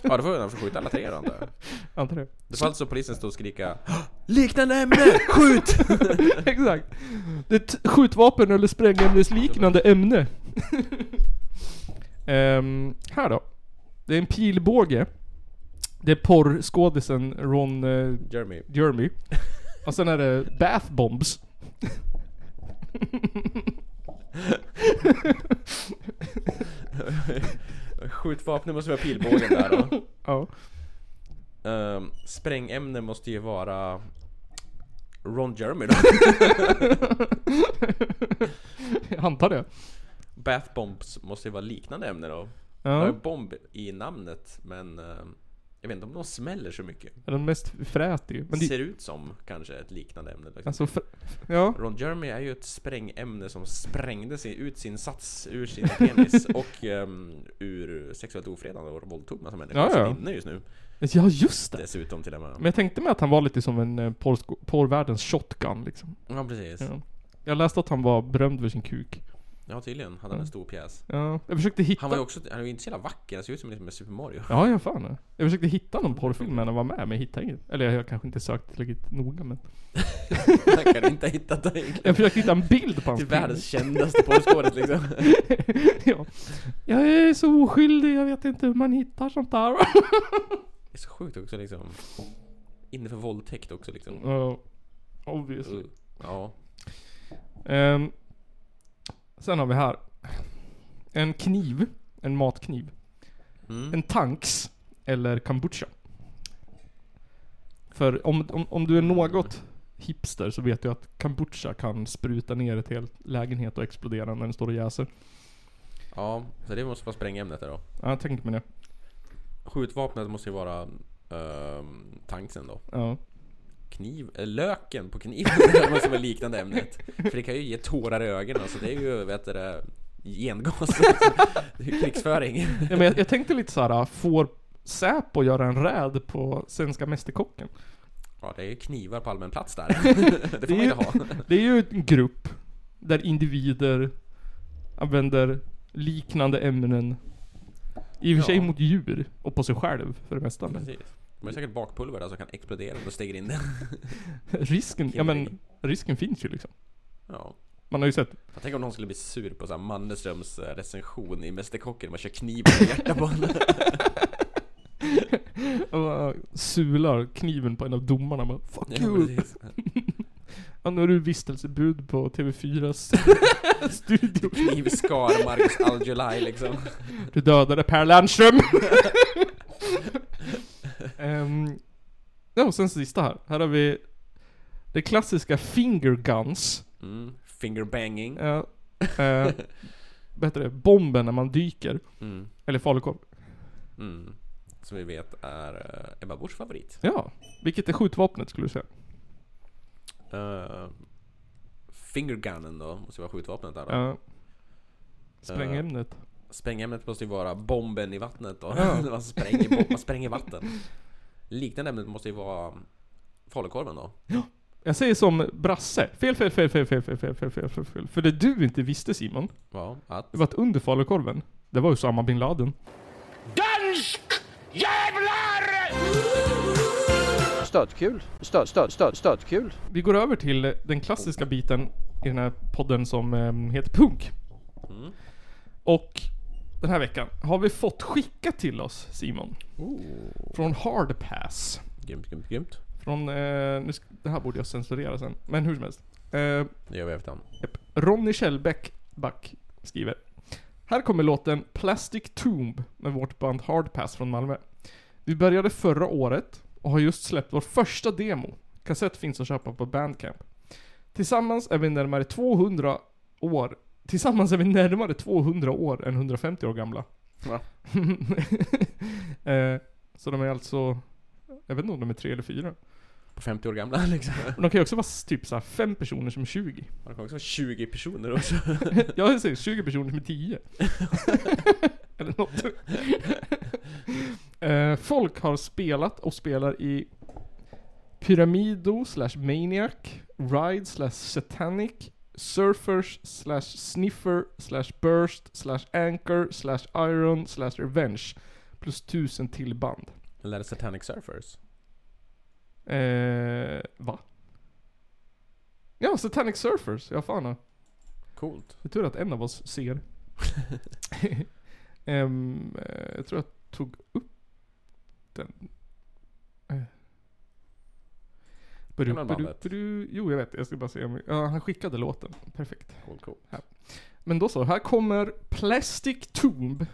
[SPEAKER 2] Ja, då får jag nog skjuta alla tre då antar jag.
[SPEAKER 1] Antar det.
[SPEAKER 2] Det får alltså polisen stå och skrika "Hå! Liknande ämne! Skjut!
[SPEAKER 1] Exakt. Det är ett skjutvapen eller sprängämnesliknande ämne. Ehm, här då. Det är en pilbåge. Det är porrskådisen Ron eh,
[SPEAKER 2] Jeremy.
[SPEAKER 1] Jeremy. Och sen är det bath bombs.
[SPEAKER 2] Skjutvapnet måste vara pilbågen där då.
[SPEAKER 1] Ja.
[SPEAKER 2] Ehm, sprängämne måste ju vara Ron Jeremy då.
[SPEAKER 1] Jag antar det.
[SPEAKER 2] Bathbombs måste ju vara liknande ämne då. Det har
[SPEAKER 1] Ja.
[SPEAKER 2] ju bomb i namnet men ehm, jag vet inte om de smäller så mycket.
[SPEAKER 1] Är den mest frätig. Men det,
[SPEAKER 2] Ser ut som kanske ett liknande ämne. Liksom.
[SPEAKER 1] alltså, fr- ja.
[SPEAKER 2] Ron Jeremy är ju ett sprängämne som sprängde sig ut sin sats ur sin penis och ehm, ur sexuellt ofredande och våldtog massa människor
[SPEAKER 1] Ja,
[SPEAKER 2] som
[SPEAKER 1] ja.
[SPEAKER 2] sitter inne just nu.
[SPEAKER 1] Ja, just det.
[SPEAKER 2] Dessutom till och med.
[SPEAKER 1] Men jag tänkte mig att han var lite som en eh, porrsko- porrvärldens shotgun liksom.
[SPEAKER 2] Ja precis.
[SPEAKER 1] Ja. Jag läste att han var berömd för sin kuk.
[SPEAKER 2] Ja tydligen hade han en stor pjäs.
[SPEAKER 1] Ja. Jag försökte hitta...
[SPEAKER 2] Han var ju också, han var ju inte så jävla vacker, han ser ut som liksom en Super Mario.
[SPEAKER 1] Ja, jag fan. Jag försökte hitta någon porrfilm när han var med, men jag hittade inget. Eller jag kanske inte sökt tillräckligt noga men...
[SPEAKER 2] Han kan inte hitta dig.
[SPEAKER 1] Jag försökte hitta en bild på hans
[SPEAKER 2] Till
[SPEAKER 1] film.
[SPEAKER 2] världens kändaste porrskådis liksom.
[SPEAKER 1] ja. Jag är så oskyldig, jag vet inte hur man hittar sånt där.
[SPEAKER 2] Det är så sjukt också liksom. Inne för våldtäkt också liksom. Uh,
[SPEAKER 1] Ja, obviously.
[SPEAKER 2] Ja.
[SPEAKER 1] Ehm, sen har vi här. En kniv. En matkniv.
[SPEAKER 2] Mm.
[SPEAKER 1] En tanks. Eller kombucha. För om, om, om du är något hipster så vet du att kombucha kan spruta ner ett helt lägenhet och explodera när den står och jäser.
[SPEAKER 2] Ja, så det måste vara sprängämnet där då.
[SPEAKER 1] Ja, jag tänkte mig det.
[SPEAKER 2] Skjutvapnet måste ju vara ehm, tanksen då.
[SPEAKER 1] Ja.
[SPEAKER 2] Kniv, eh, löken på kniven det måste vara liknande ämnet. För det kan ju ge tårar i ögonen så det är ju vet du, det, gengas. Det är ju krigsföring.
[SPEAKER 1] ja men jag, jag tänkte lite så här. får Säpo göra en räd på Svenska Mästerkocken?
[SPEAKER 2] Ja, det är ju knivar på allmän plats där. Det får man
[SPEAKER 1] ju-
[SPEAKER 2] inte ha.
[SPEAKER 1] Det är ju en grupp där individer använder liknande ämnen I och för sig
[SPEAKER 2] Ja.
[SPEAKER 1] mot djur och på sig själv för det mesta. Men
[SPEAKER 2] Precis. De har säkert bakpulver där som kan explodera om du steker in det.
[SPEAKER 1] risken, ja men risken finns ju liksom.
[SPEAKER 2] Ja.
[SPEAKER 1] Man har ju sett
[SPEAKER 2] Jag tänker om någon skulle bli sur på så här Mannerströms eh, recension i Mästerkocken. Man kör kniven i hjärtat på honom.
[SPEAKER 1] alla sular kniven på en av domarna bara Fuck
[SPEAKER 2] Ja,
[SPEAKER 1] you!
[SPEAKER 2] precis.
[SPEAKER 1] Ja, nu har du vistelsebud på TV4s studio.
[SPEAKER 2] Knivskar Marcus Algelai liksom.
[SPEAKER 1] Du dödade Per Lernström! um, ja, och sen sista här. Här har vi det klassiska finger guns.
[SPEAKER 2] Mm. Fingerbanging.
[SPEAKER 1] Ja, eh, vad heter det? Bomben när man dyker.
[SPEAKER 2] Mm.
[SPEAKER 1] Eller falukorv.
[SPEAKER 2] Mm. Som vi vet är eh, Ebba Buschs favorit.
[SPEAKER 1] Ja, vilket är skjutvapnet skulle du säga?
[SPEAKER 2] Uh, fingergunnen då, måste ju vara skjutvapnet där då.
[SPEAKER 1] Ja. Sprängämnet.
[SPEAKER 2] Sprängämnet måste ju vara bomben i vattnet då.
[SPEAKER 1] Ja.
[SPEAKER 2] man, spränger, bo- man spränger vatten. Liknande ämnet måste ju vara falukorven då.
[SPEAKER 1] Jag säger som Brasse. Fel, fel, fel, fel, fel, fel, fel, fel, fel, fel, fel. För det du inte visste Simon,
[SPEAKER 2] Ja, att...
[SPEAKER 1] det var att under falukorven, det var ju Osama bin Laden.
[SPEAKER 4] Stötkul. Stöt, stöt, stöt, stötkul.
[SPEAKER 1] Vi går över till den klassiska biten i den här podden som eh, heter Punk. Och den här veckan har vi fått skicka till oss Simon. Från Hard Pass.
[SPEAKER 2] Grymt, grymt, grymt.
[SPEAKER 1] Från, eh, nu ska, det här borde jag censurera sen, men hur som helst. Eh,
[SPEAKER 2] Det gör vi efterhand.
[SPEAKER 1] Japp. Ronny Kjellbäck Back skriver. Här kommer låten Plastic Tomb med vårt band Hard Pass från Malmö. Vi började förra året och har just släppt vår första demo. Kassett finns att köpa på Bandcamp. Tillsammans är vi närmare 200 år Tillsammans är vi närmare 200 år än 150 år gamla.
[SPEAKER 2] Va?
[SPEAKER 1] eh, så de är alltså, jag vet inte om de är tre eller fyra.
[SPEAKER 2] På 50 år gamla liksom.
[SPEAKER 1] Men de kan ju också vara typ så här fem personer som är 20.
[SPEAKER 2] Man kan också vara 20 personer också.
[SPEAKER 1] Jag säger 20 personer som är 10. Eller något. Eh, folk har spelat och spelar i Pyramido slash Maniac, Ride slash Satanic, Surfers slash Sniffer slash Burst slash Anchor slash Iron slash Revenge. Plus tusen till band.
[SPEAKER 2] Eller är det Satanic Surfers?
[SPEAKER 1] Eh, va? Ja, Satanic Surfers. Ja, fan. Ja.
[SPEAKER 2] Coolt.
[SPEAKER 1] Det är tur att en av oss ser. Ehm, eh, jag tror jag tog upp den. Eh. Badu,
[SPEAKER 2] Gamla
[SPEAKER 1] badu,
[SPEAKER 2] bandet.
[SPEAKER 1] badu. Jo, jag vet. Jag ska bara se om... vi- Ja, han skickade låten. Perfekt.
[SPEAKER 2] Coolt, coolt.
[SPEAKER 1] Men då så, här kommer Plastic Tomb.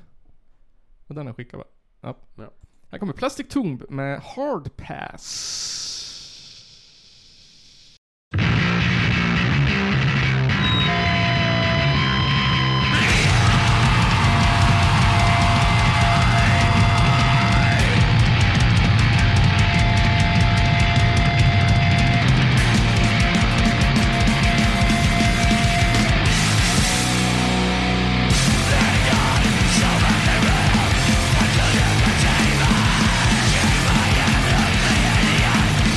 [SPEAKER 1] Och den har jag skickat va? Ja.
[SPEAKER 2] Ja.
[SPEAKER 1] Här kommer Plastic Tomb med Hard Pass.
[SPEAKER 7] Thank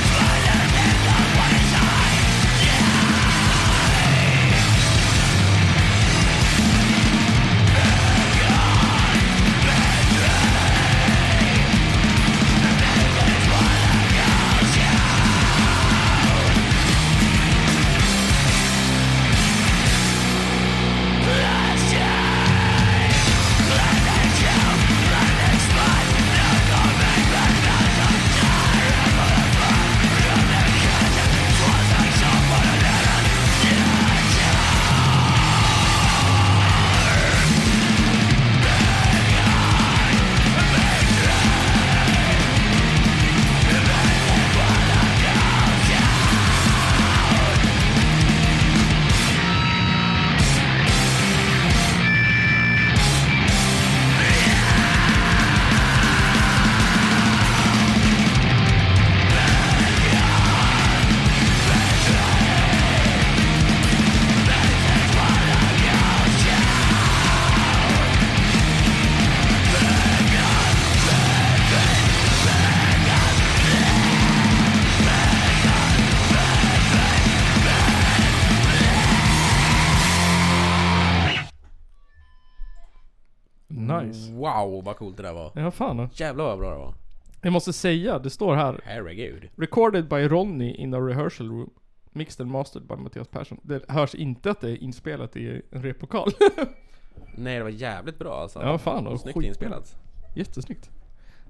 [SPEAKER 1] nice.
[SPEAKER 2] Wow vad coolt det där var.
[SPEAKER 1] Mm. Ja, fan.
[SPEAKER 2] Jävlar vad bra det var.
[SPEAKER 1] Jag måste säga, det står här.
[SPEAKER 2] Herregud.
[SPEAKER 1] Recorded by Ronny in a rehearsal room. Mixed and mastered by Mattias Persson. Det hörs inte att det är inspelat i en replokal.
[SPEAKER 2] Nej det var jävligt bra alltså.
[SPEAKER 1] Ja, fan, det var
[SPEAKER 2] Snyggt
[SPEAKER 1] skit-
[SPEAKER 2] inspelat.
[SPEAKER 1] Jättesnyggt.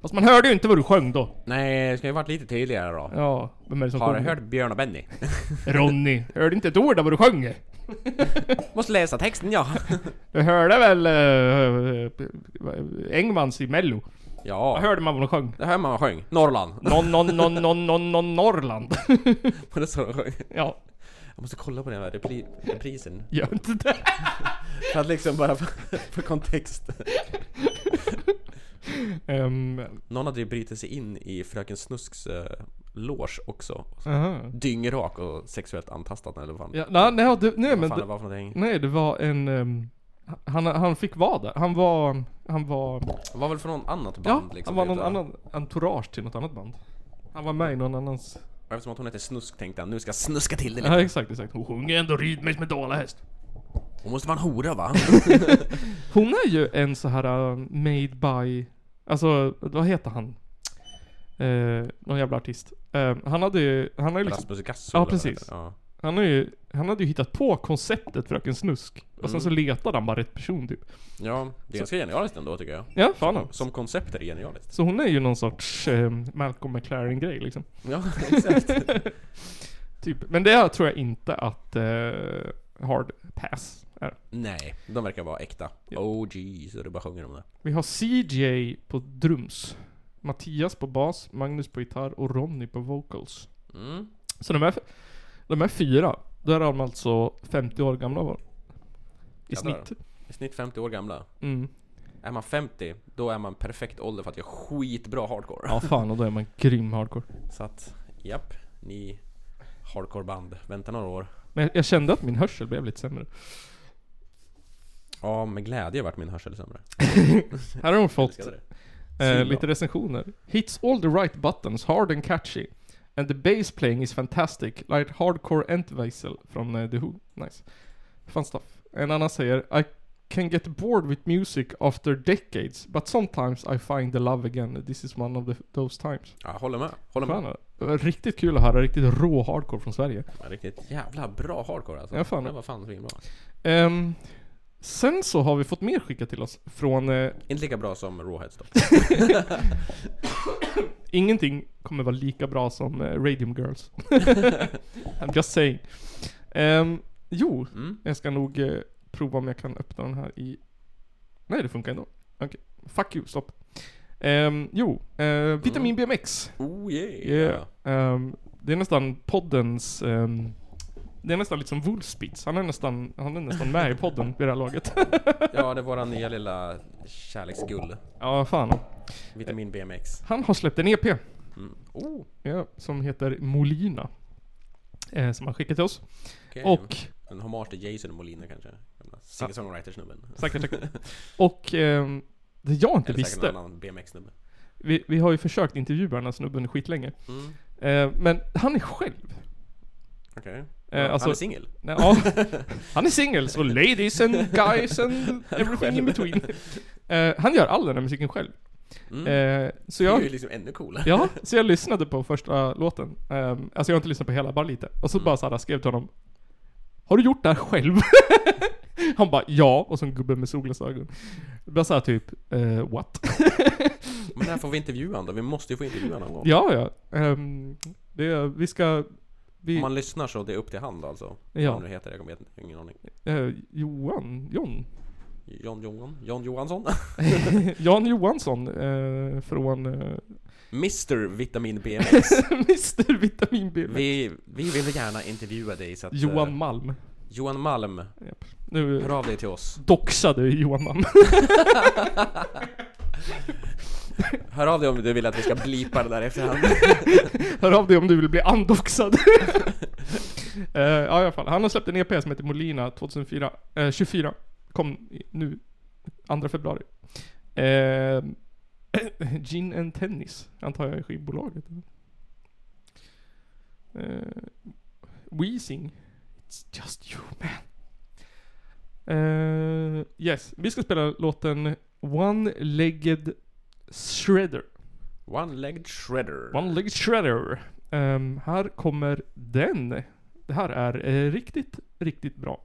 [SPEAKER 1] Fast man hörde ju inte vad du sjöng då.
[SPEAKER 2] Nej, det ska ju varit lite tydligare då.
[SPEAKER 1] Ja, vem är det som
[SPEAKER 2] Har du
[SPEAKER 1] sjunger?
[SPEAKER 2] hört Björn och Benny?
[SPEAKER 1] Ronny. Hörde inte ett ord av vad du sjöng?
[SPEAKER 2] Måste läsa texten ja.
[SPEAKER 1] Du hörde väl eh, Engmans i mello? Vad
[SPEAKER 2] Ja.
[SPEAKER 1] hörde man vad de sjöng?
[SPEAKER 2] Det hör man vad sjöng. Norrland.
[SPEAKER 1] Non, non, non, non, non, non, Norrland.
[SPEAKER 2] Var det så de sjöng?
[SPEAKER 1] ja,
[SPEAKER 2] Jag måste kolla på den här repli- reprisen.
[SPEAKER 1] gör inte det.
[SPEAKER 2] För att liksom bara få- få kontext.
[SPEAKER 1] Ehm,
[SPEAKER 2] Någon hade ju brutit sig in i Fröken Snusks uh, loge också.
[SPEAKER 1] aha.
[SPEAKER 2] Dyngrak och sexuellt antastat eller vad fan.
[SPEAKER 1] Ja, nej, nej, du, nej
[SPEAKER 2] vad
[SPEAKER 1] men...
[SPEAKER 2] fan det
[SPEAKER 1] Det,
[SPEAKER 2] var för någonting.
[SPEAKER 1] nej, det var en... ehm, han, han fick vara där. Han var... Han var...
[SPEAKER 2] Det var väl från någon annat
[SPEAKER 1] Ja,
[SPEAKER 2] band
[SPEAKER 1] han
[SPEAKER 2] liksom.
[SPEAKER 1] var
[SPEAKER 2] typ,
[SPEAKER 1] någon
[SPEAKER 2] ja.
[SPEAKER 1] annan entourage till något annat band. Han var med i någon annans...
[SPEAKER 2] Och Eftersom att hon heter Snusk tänkte han nu ska jag snuska till det lite.
[SPEAKER 1] Ja, exakt, exakt. Hon sjunger ändå rytmiskt med dalahäst.
[SPEAKER 2] Hon måste vara en hora va?
[SPEAKER 1] Hon är ju en så här äh, made by... Alltså, vad heter han? Eh, någon jävla artist. Eh, han hade ju... Han, har ju liksom,
[SPEAKER 2] Rasmus Gasso.
[SPEAKER 1] Ja,
[SPEAKER 2] eller vad
[SPEAKER 1] precis.
[SPEAKER 2] heter det? Ja.
[SPEAKER 1] han, har ju, han hade ju hittat på konceptet Fröken Snusk. Och sen så letade han bara rätt person typ.
[SPEAKER 2] ja, det är ganska genialiskt ändå tycker jag.
[SPEAKER 1] Ja, fan han.
[SPEAKER 2] Som koncept är det genialiskt.
[SPEAKER 1] Så hon är ju någon sorts eh, Malcolm McLaren-grej liksom.
[SPEAKER 2] Ja, exakt.
[SPEAKER 1] Typ. Men det tror jag inte att eh, Hard Pass är.
[SPEAKER 2] Nej, de verkar vara äkta.
[SPEAKER 1] Ja.
[SPEAKER 2] Oh jeez, och du bara sjunger om det.
[SPEAKER 1] Vi har CJ på drums. Mattias på bas, Magnus på gitarr och Ronny på vocals.
[SPEAKER 2] Mm.
[SPEAKER 1] Så de här, de här fyra, då är de alltså 50 år gamla var. I
[SPEAKER 2] Jävlar.
[SPEAKER 1] snitt.
[SPEAKER 2] I snitt 50 år gamla.
[SPEAKER 1] Mm.
[SPEAKER 2] Är man 50, då är man perfekt ålder för att göra skitbra hardcore.
[SPEAKER 1] Ja fan, och då är man grym hardcore.
[SPEAKER 2] Så att, japp. Ni hardcoreband, vänta några år.
[SPEAKER 1] Men jag, jag kände att min hörsel blev lite sämre.
[SPEAKER 2] Ja, med glädje vart min hörsel sämre.
[SPEAKER 1] Här har de fått
[SPEAKER 2] Älskade det.
[SPEAKER 1] eh,
[SPEAKER 2] Svinbra.
[SPEAKER 1] lite recensioner. Hits all the right buttons, hard and catchy. And the bass playing is fantastic, like hardcore Entweisel från eh, The Who. Nice. Fun stuff. En annan säger I can get bored with music after decades, but sometimes I find the love again. This is one of the, those times.
[SPEAKER 2] Ja, håller med. Håller med.
[SPEAKER 1] Fan, det var riktigt kul att höra, riktigt rå hardcore från Sverige.
[SPEAKER 2] Ja, Riktigt jävla bra hardcore alltså.
[SPEAKER 1] Ja, fan.
[SPEAKER 2] Det var fan svinbra.
[SPEAKER 1] Ehm, sen så har vi fått mer skickat till oss från eh,
[SPEAKER 2] Inte lika bra som Rawheads dock.
[SPEAKER 1] Ingenting kommer vara lika bra som eh, Radium Girls. I'm just saying. Ehm, jo,
[SPEAKER 2] Mm.
[SPEAKER 1] jag ska nog eh, prova om jag kan öppna den här i... Nej, det funkar ändå. Okej. Fuck you, stopp. Ehm, jo, eh, Vitamin BMX.
[SPEAKER 2] Oh yeah!
[SPEAKER 1] Yeah. Ehm, det är nästan poddens... ehm, det är nästan lite som Woolspitz. Han är nästan, han är nästan med i podden vid det här laget.
[SPEAKER 2] Ja, det är våran nya lilla kärleksgull.
[SPEAKER 1] ja, fan.
[SPEAKER 2] Vitamin BMX.
[SPEAKER 1] Han har släppt en EP.
[SPEAKER 2] Mm. Oh,
[SPEAKER 1] Ja, som heter Molina. Eh, som han skickat till oss.
[SPEAKER 2] okej.
[SPEAKER 1] Och,
[SPEAKER 2] En hommage till Jason Molina kanske? Gamla Singer-songwriter-snubben.
[SPEAKER 1] säkert, säkert. Och ehm, det jag inte
[SPEAKER 2] Eller säkert
[SPEAKER 1] visste.
[SPEAKER 2] en annan BMX-snubbe.
[SPEAKER 1] Vi, vi har ju försökt intervjua den här snubben skitlänge.
[SPEAKER 2] Mm.
[SPEAKER 1] Eh, men han är själv.
[SPEAKER 2] Okej.
[SPEAKER 1] Eh,
[SPEAKER 2] Ja,
[SPEAKER 1] alltså-
[SPEAKER 2] Han är singel?
[SPEAKER 1] Nej, ja, han är singel, så ladies and guys and everything in between. Eh, han gör all den här musiken själv.
[SPEAKER 2] Mm.
[SPEAKER 1] Eh, så
[SPEAKER 2] Det
[SPEAKER 1] jag...
[SPEAKER 2] är ju liksom ännu coolare.
[SPEAKER 1] Ja, så jag lyssnade på första låten. Ehm, alltså jag har inte lyssnat på hela, bara lite. Och
[SPEAKER 2] Mm.
[SPEAKER 1] så bara såhär, skrev till honom. Har du gjort det här själv? Han bara ja, och så en gubbe med solglasögon. Bara såhär typ, eh, what?
[SPEAKER 2] Men när får vi intervjua honom då? Vi måste ju få intervjua honom någon gång.
[SPEAKER 1] ja, ja. Ehm, det, vi ska... Vi,
[SPEAKER 2] Om man lyssnar så det är upp till hand alltså.
[SPEAKER 1] Ja.
[SPEAKER 2] Vad han nu heter, jag kommer jag har ingen aning.
[SPEAKER 1] eh, Johan, John.
[SPEAKER 2] John Johan? John Johansson?
[SPEAKER 1] Jan Johansson eh, från eh,
[SPEAKER 2] Mr Vitamin BMX.
[SPEAKER 1] Mr Vitamin B.
[SPEAKER 2] Vi, vi vill gärna intervjua dig så att... eh,
[SPEAKER 1] Johan Malm.
[SPEAKER 2] Johan Malm.
[SPEAKER 1] Nu
[SPEAKER 2] Hör av dig till oss.
[SPEAKER 1] doxade vi Johan Malm.
[SPEAKER 2] Hör av dig om du vill att vi ska blipa det där efterhand.
[SPEAKER 1] Hör av dig om du vill bli andoxad. Eh, ja, i alla fall. Han har släppt en EP som heter Molina 2004, eh, 24. Kom i- nu, 2 februari. Eh, gin and Tennis, antar jag är skivbolaget. Eh, Weezing. It's just you man. Eh, yes, vi ska spela låten One-legged shredder.
[SPEAKER 2] One-legged shredder.
[SPEAKER 1] One-legged shredder. Ehm, här kommer den. Det här är eh, riktigt, riktigt bra.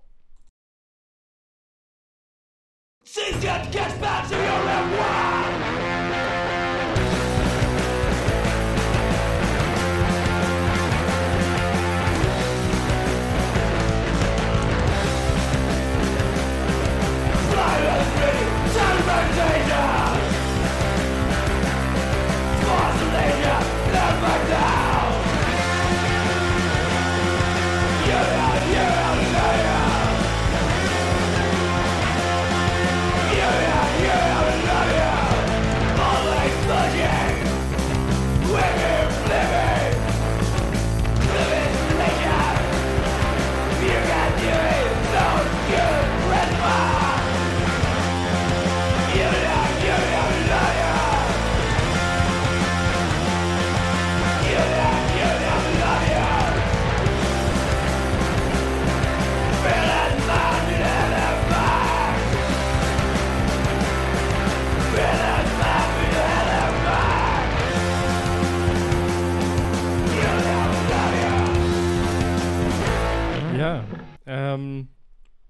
[SPEAKER 1] Yeah. Ehm,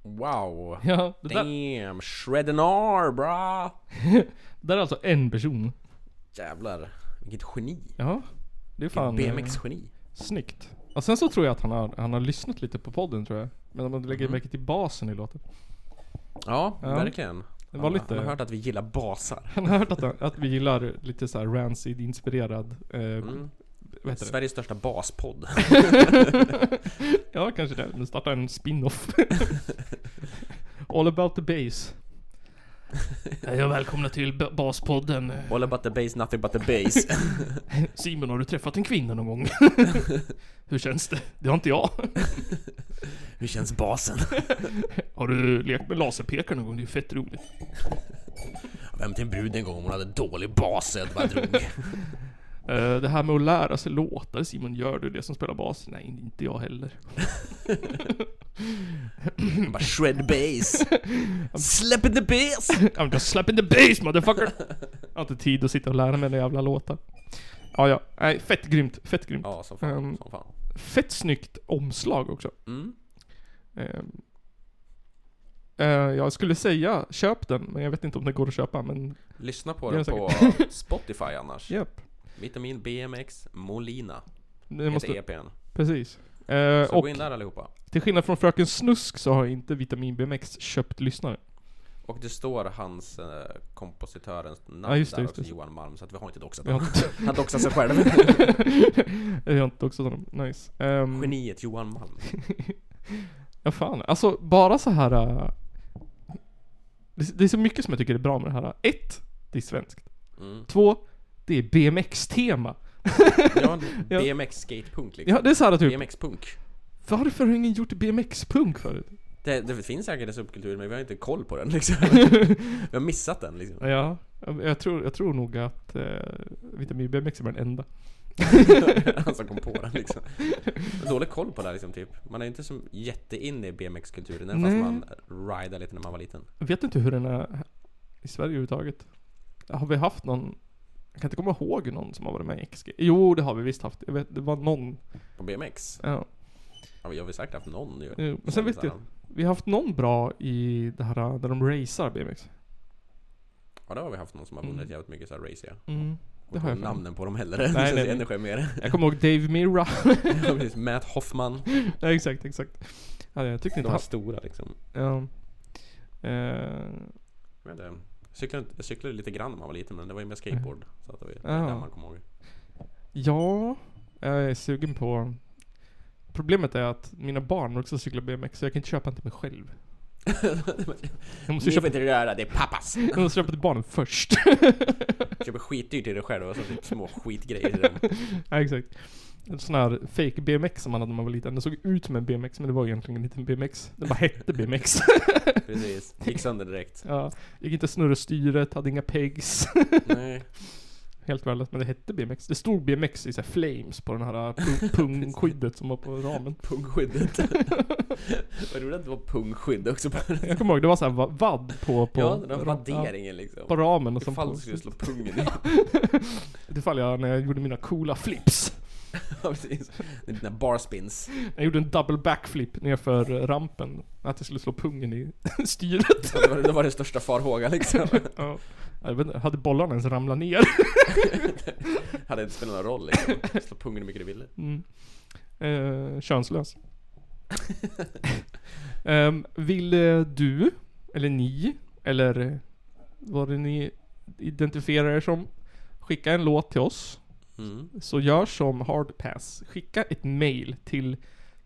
[SPEAKER 2] Wow.
[SPEAKER 1] ja, det där,
[SPEAKER 2] Damn, shreddenar bra.
[SPEAKER 1] där är alltså en person.
[SPEAKER 2] Jävlar, vilket geni.
[SPEAKER 1] Ja. Det är fan... eh,
[SPEAKER 2] BMX-geni.
[SPEAKER 1] Snyggt. Och sen så tror jag att han har, han har lyssnat lite på podden tror jag. Men om man lägger märke till basen i låten.
[SPEAKER 2] Ja,
[SPEAKER 1] Ja.
[SPEAKER 2] verkligen.
[SPEAKER 1] Det var
[SPEAKER 2] Han-
[SPEAKER 1] lite-
[SPEAKER 2] Han har hört att vi gillar basar.
[SPEAKER 1] Han har hört att, att vi gillar lite så här rancid-inspirerad... Eh, Vad heter det?
[SPEAKER 2] Mm. Sveriges största baspodd.
[SPEAKER 1] Ja, kanske det. Men starta en spin-off. All about the base. Hej och välkomna till B- Baspodden.
[SPEAKER 2] All about the base, nothing but the base.
[SPEAKER 1] Simon, har du träffat en kvinna någon gång? Hur känns det? Det har inte jag.
[SPEAKER 2] Hur känns basen?
[SPEAKER 1] Har du lekt med laserpekare någon gång? Det är fett roligt.
[SPEAKER 2] Vem till en brud en gång, hon hade dålig bas så jag bara drog.
[SPEAKER 1] Eh, Det här med att lära sig låtar, Simon, gör du det som spelar bas? Nej, inte jag heller.
[SPEAKER 2] Hon bara shred bass. Släpp in the bass!
[SPEAKER 1] I'm just slapping the bass motherfucker! Jag har inte tid att sitta och lära mig den jävla låtar. Ja, ja. Nej, fett grymt. Fett grymt.
[SPEAKER 2] Ja, som fan.
[SPEAKER 1] Ehm.
[SPEAKER 2] Som fan.
[SPEAKER 1] Fett snyggt omslag också.
[SPEAKER 2] Mm.
[SPEAKER 1] Ehm. Eh, jag skulle säga köp den, men jag vet inte om det går att köpa, men
[SPEAKER 2] Lyssna på
[SPEAKER 1] Det är
[SPEAKER 2] den på Spotify annars.
[SPEAKER 1] japp.
[SPEAKER 2] Vitamin BMX Molina.
[SPEAKER 1] Det
[SPEAKER 2] Måste...
[SPEAKER 1] måste,
[SPEAKER 2] Heter EPn.
[SPEAKER 1] precis. Eh,
[SPEAKER 2] Så
[SPEAKER 1] och
[SPEAKER 2] gå in där allihopa.
[SPEAKER 1] till skillnad från Fröken Snusk så har inte Vitamin BMX köpt lyssnare.
[SPEAKER 2] Och det står hans eh, kompositörens namn
[SPEAKER 1] Ja, just det,
[SPEAKER 2] där
[SPEAKER 1] just
[SPEAKER 2] också,
[SPEAKER 1] det.
[SPEAKER 2] Johan Malm, så att vi har inte doxat
[SPEAKER 1] Vi har
[SPEAKER 2] honom.
[SPEAKER 1] inte,
[SPEAKER 2] Han doxar sig själv.
[SPEAKER 1] jag har inte också honom. Nice. Ehm,
[SPEAKER 2] Geniet Johan Malm.
[SPEAKER 1] Ja fan, alltså bara så här. äh, Det, det är så mycket som jag tycker är bra med det här. äh. Ett, det är svenskt.
[SPEAKER 2] Mm.
[SPEAKER 1] Två, det är BMX-tema.
[SPEAKER 2] Ja,
[SPEAKER 1] Ja.
[SPEAKER 2] BMX skatepunk liksom.
[SPEAKER 1] Ja, det är så här typ,
[SPEAKER 2] BMX punk.
[SPEAKER 1] varför har ingen gjort BMX-punk förut?
[SPEAKER 2] Det, det finns säkert en subkultur men vi har inte koll på den liksom. vi har missat den liksom.
[SPEAKER 1] Ja, jag jag tror, jag tror nog att eh, Vitamin BMX är bara den enda.
[SPEAKER 2] Han som kom på den liksom. Jag har Dålig koll på det här, liksom typ. Man är inte så jätteinne i BMX-kulturen även fast
[SPEAKER 1] Nej.
[SPEAKER 2] man rider lite när man var liten.
[SPEAKER 1] Jag vet inte hur den är i Sverige överhuvudtaget. Har vi haft någon, jag kan inte komma ihåg någon som har varit med i XG. Jo, det har vi visst haft. Jag vet, det var någon.
[SPEAKER 2] På BMX?
[SPEAKER 1] Ja,
[SPEAKER 2] Ja, vi har väl säkert haft någon ju.
[SPEAKER 1] jo. Men sen vet jag, vi har haft någon bra i det här äh, där de racear BMX.
[SPEAKER 2] Ja, det har vi haft någon som har vunnit
[SPEAKER 1] Mm.
[SPEAKER 2] jävligt mycket så här race ja.
[SPEAKER 1] Mm.
[SPEAKER 2] Och
[SPEAKER 1] har
[SPEAKER 2] har
[SPEAKER 1] jag för mig.
[SPEAKER 2] namnen på dem heller. Nej,
[SPEAKER 1] nej,
[SPEAKER 2] det känns
[SPEAKER 1] nej.
[SPEAKER 2] ännu skämmigare.
[SPEAKER 1] Jag kommer ihåg Dave Mirra.
[SPEAKER 2] Ja, precis. Matt Hoffman.
[SPEAKER 1] ja, exakt, exakt. Ja, jag tyckte
[SPEAKER 2] De
[SPEAKER 1] inte
[SPEAKER 2] här
[SPEAKER 1] han...
[SPEAKER 2] stora liksom.
[SPEAKER 1] Ja. Eh,
[SPEAKER 2] Jag, vet inte. jag, eh, cyklade, jag cyklade lite grann när man var liten men det var ju med skateboard. Så att det var ju det
[SPEAKER 1] Mm. Ja.
[SPEAKER 2] där man kommer ihåg.
[SPEAKER 1] ja, jag är sugen på... Problemet är att mina barn också cyklar BMX, så jag kan inte köpa en till mig själv. Jag måste,
[SPEAKER 2] Ni får
[SPEAKER 1] köpa,
[SPEAKER 2] inte röra, det är pappas!
[SPEAKER 1] jag måste köpa till barnen först.
[SPEAKER 2] Köper skitdyrt till dig själv och så typ små skitgrejer till dem.
[SPEAKER 1] ja, exakt. En sån här fake BMX som man hade när man var liten. Den såg ut som en BMX, men det var egentligen en liten BMX. Den bara hette BMX.
[SPEAKER 2] Precis. Gick sönder direkt.
[SPEAKER 1] ja, gick inte att snurra styret, hade inga pegs.
[SPEAKER 2] Nej.
[SPEAKER 1] Helt värdelöst, men det hette BMX. Det stod BMX i så här flames på den här äh, pung- pungskyddet som var på ramen.
[SPEAKER 2] Pungskyddet. Vad roligt att det var pungskydd också på
[SPEAKER 1] Jag kommer ihåg, det var så här va- vadd på... på
[SPEAKER 2] Ja, den där
[SPEAKER 1] ram-
[SPEAKER 2] vadderingen
[SPEAKER 1] ja,
[SPEAKER 2] liksom.
[SPEAKER 1] På ramen och som
[SPEAKER 2] Ifall
[SPEAKER 1] på...
[SPEAKER 2] du skulle slå pungen i.
[SPEAKER 1] Ifall jag, när jag gjorde mina coola flips.
[SPEAKER 2] Ja, precis. Det är Dina barspins.
[SPEAKER 1] Jag gjorde en double backflip nerför rampen. Att jag skulle slå pungen i styret.
[SPEAKER 2] Ja, Det var, det var den största farhågan liksom.
[SPEAKER 1] Ja. Jag vet inte, hade bollarna ens ramlat ner?
[SPEAKER 2] Hade inte spelat någon roll liksom. Slå pungen hur mycket du ville.
[SPEAKER 1] Mm. Eh, könslös. Ehm, vill eh, du, eller ni, eller eh, vad det ni identifierar er som, skicka en låt till oss.
[SPEAKER 2] Mm.
[SPEAKER 1] Så gör som Hardpass. Skicka ett mail till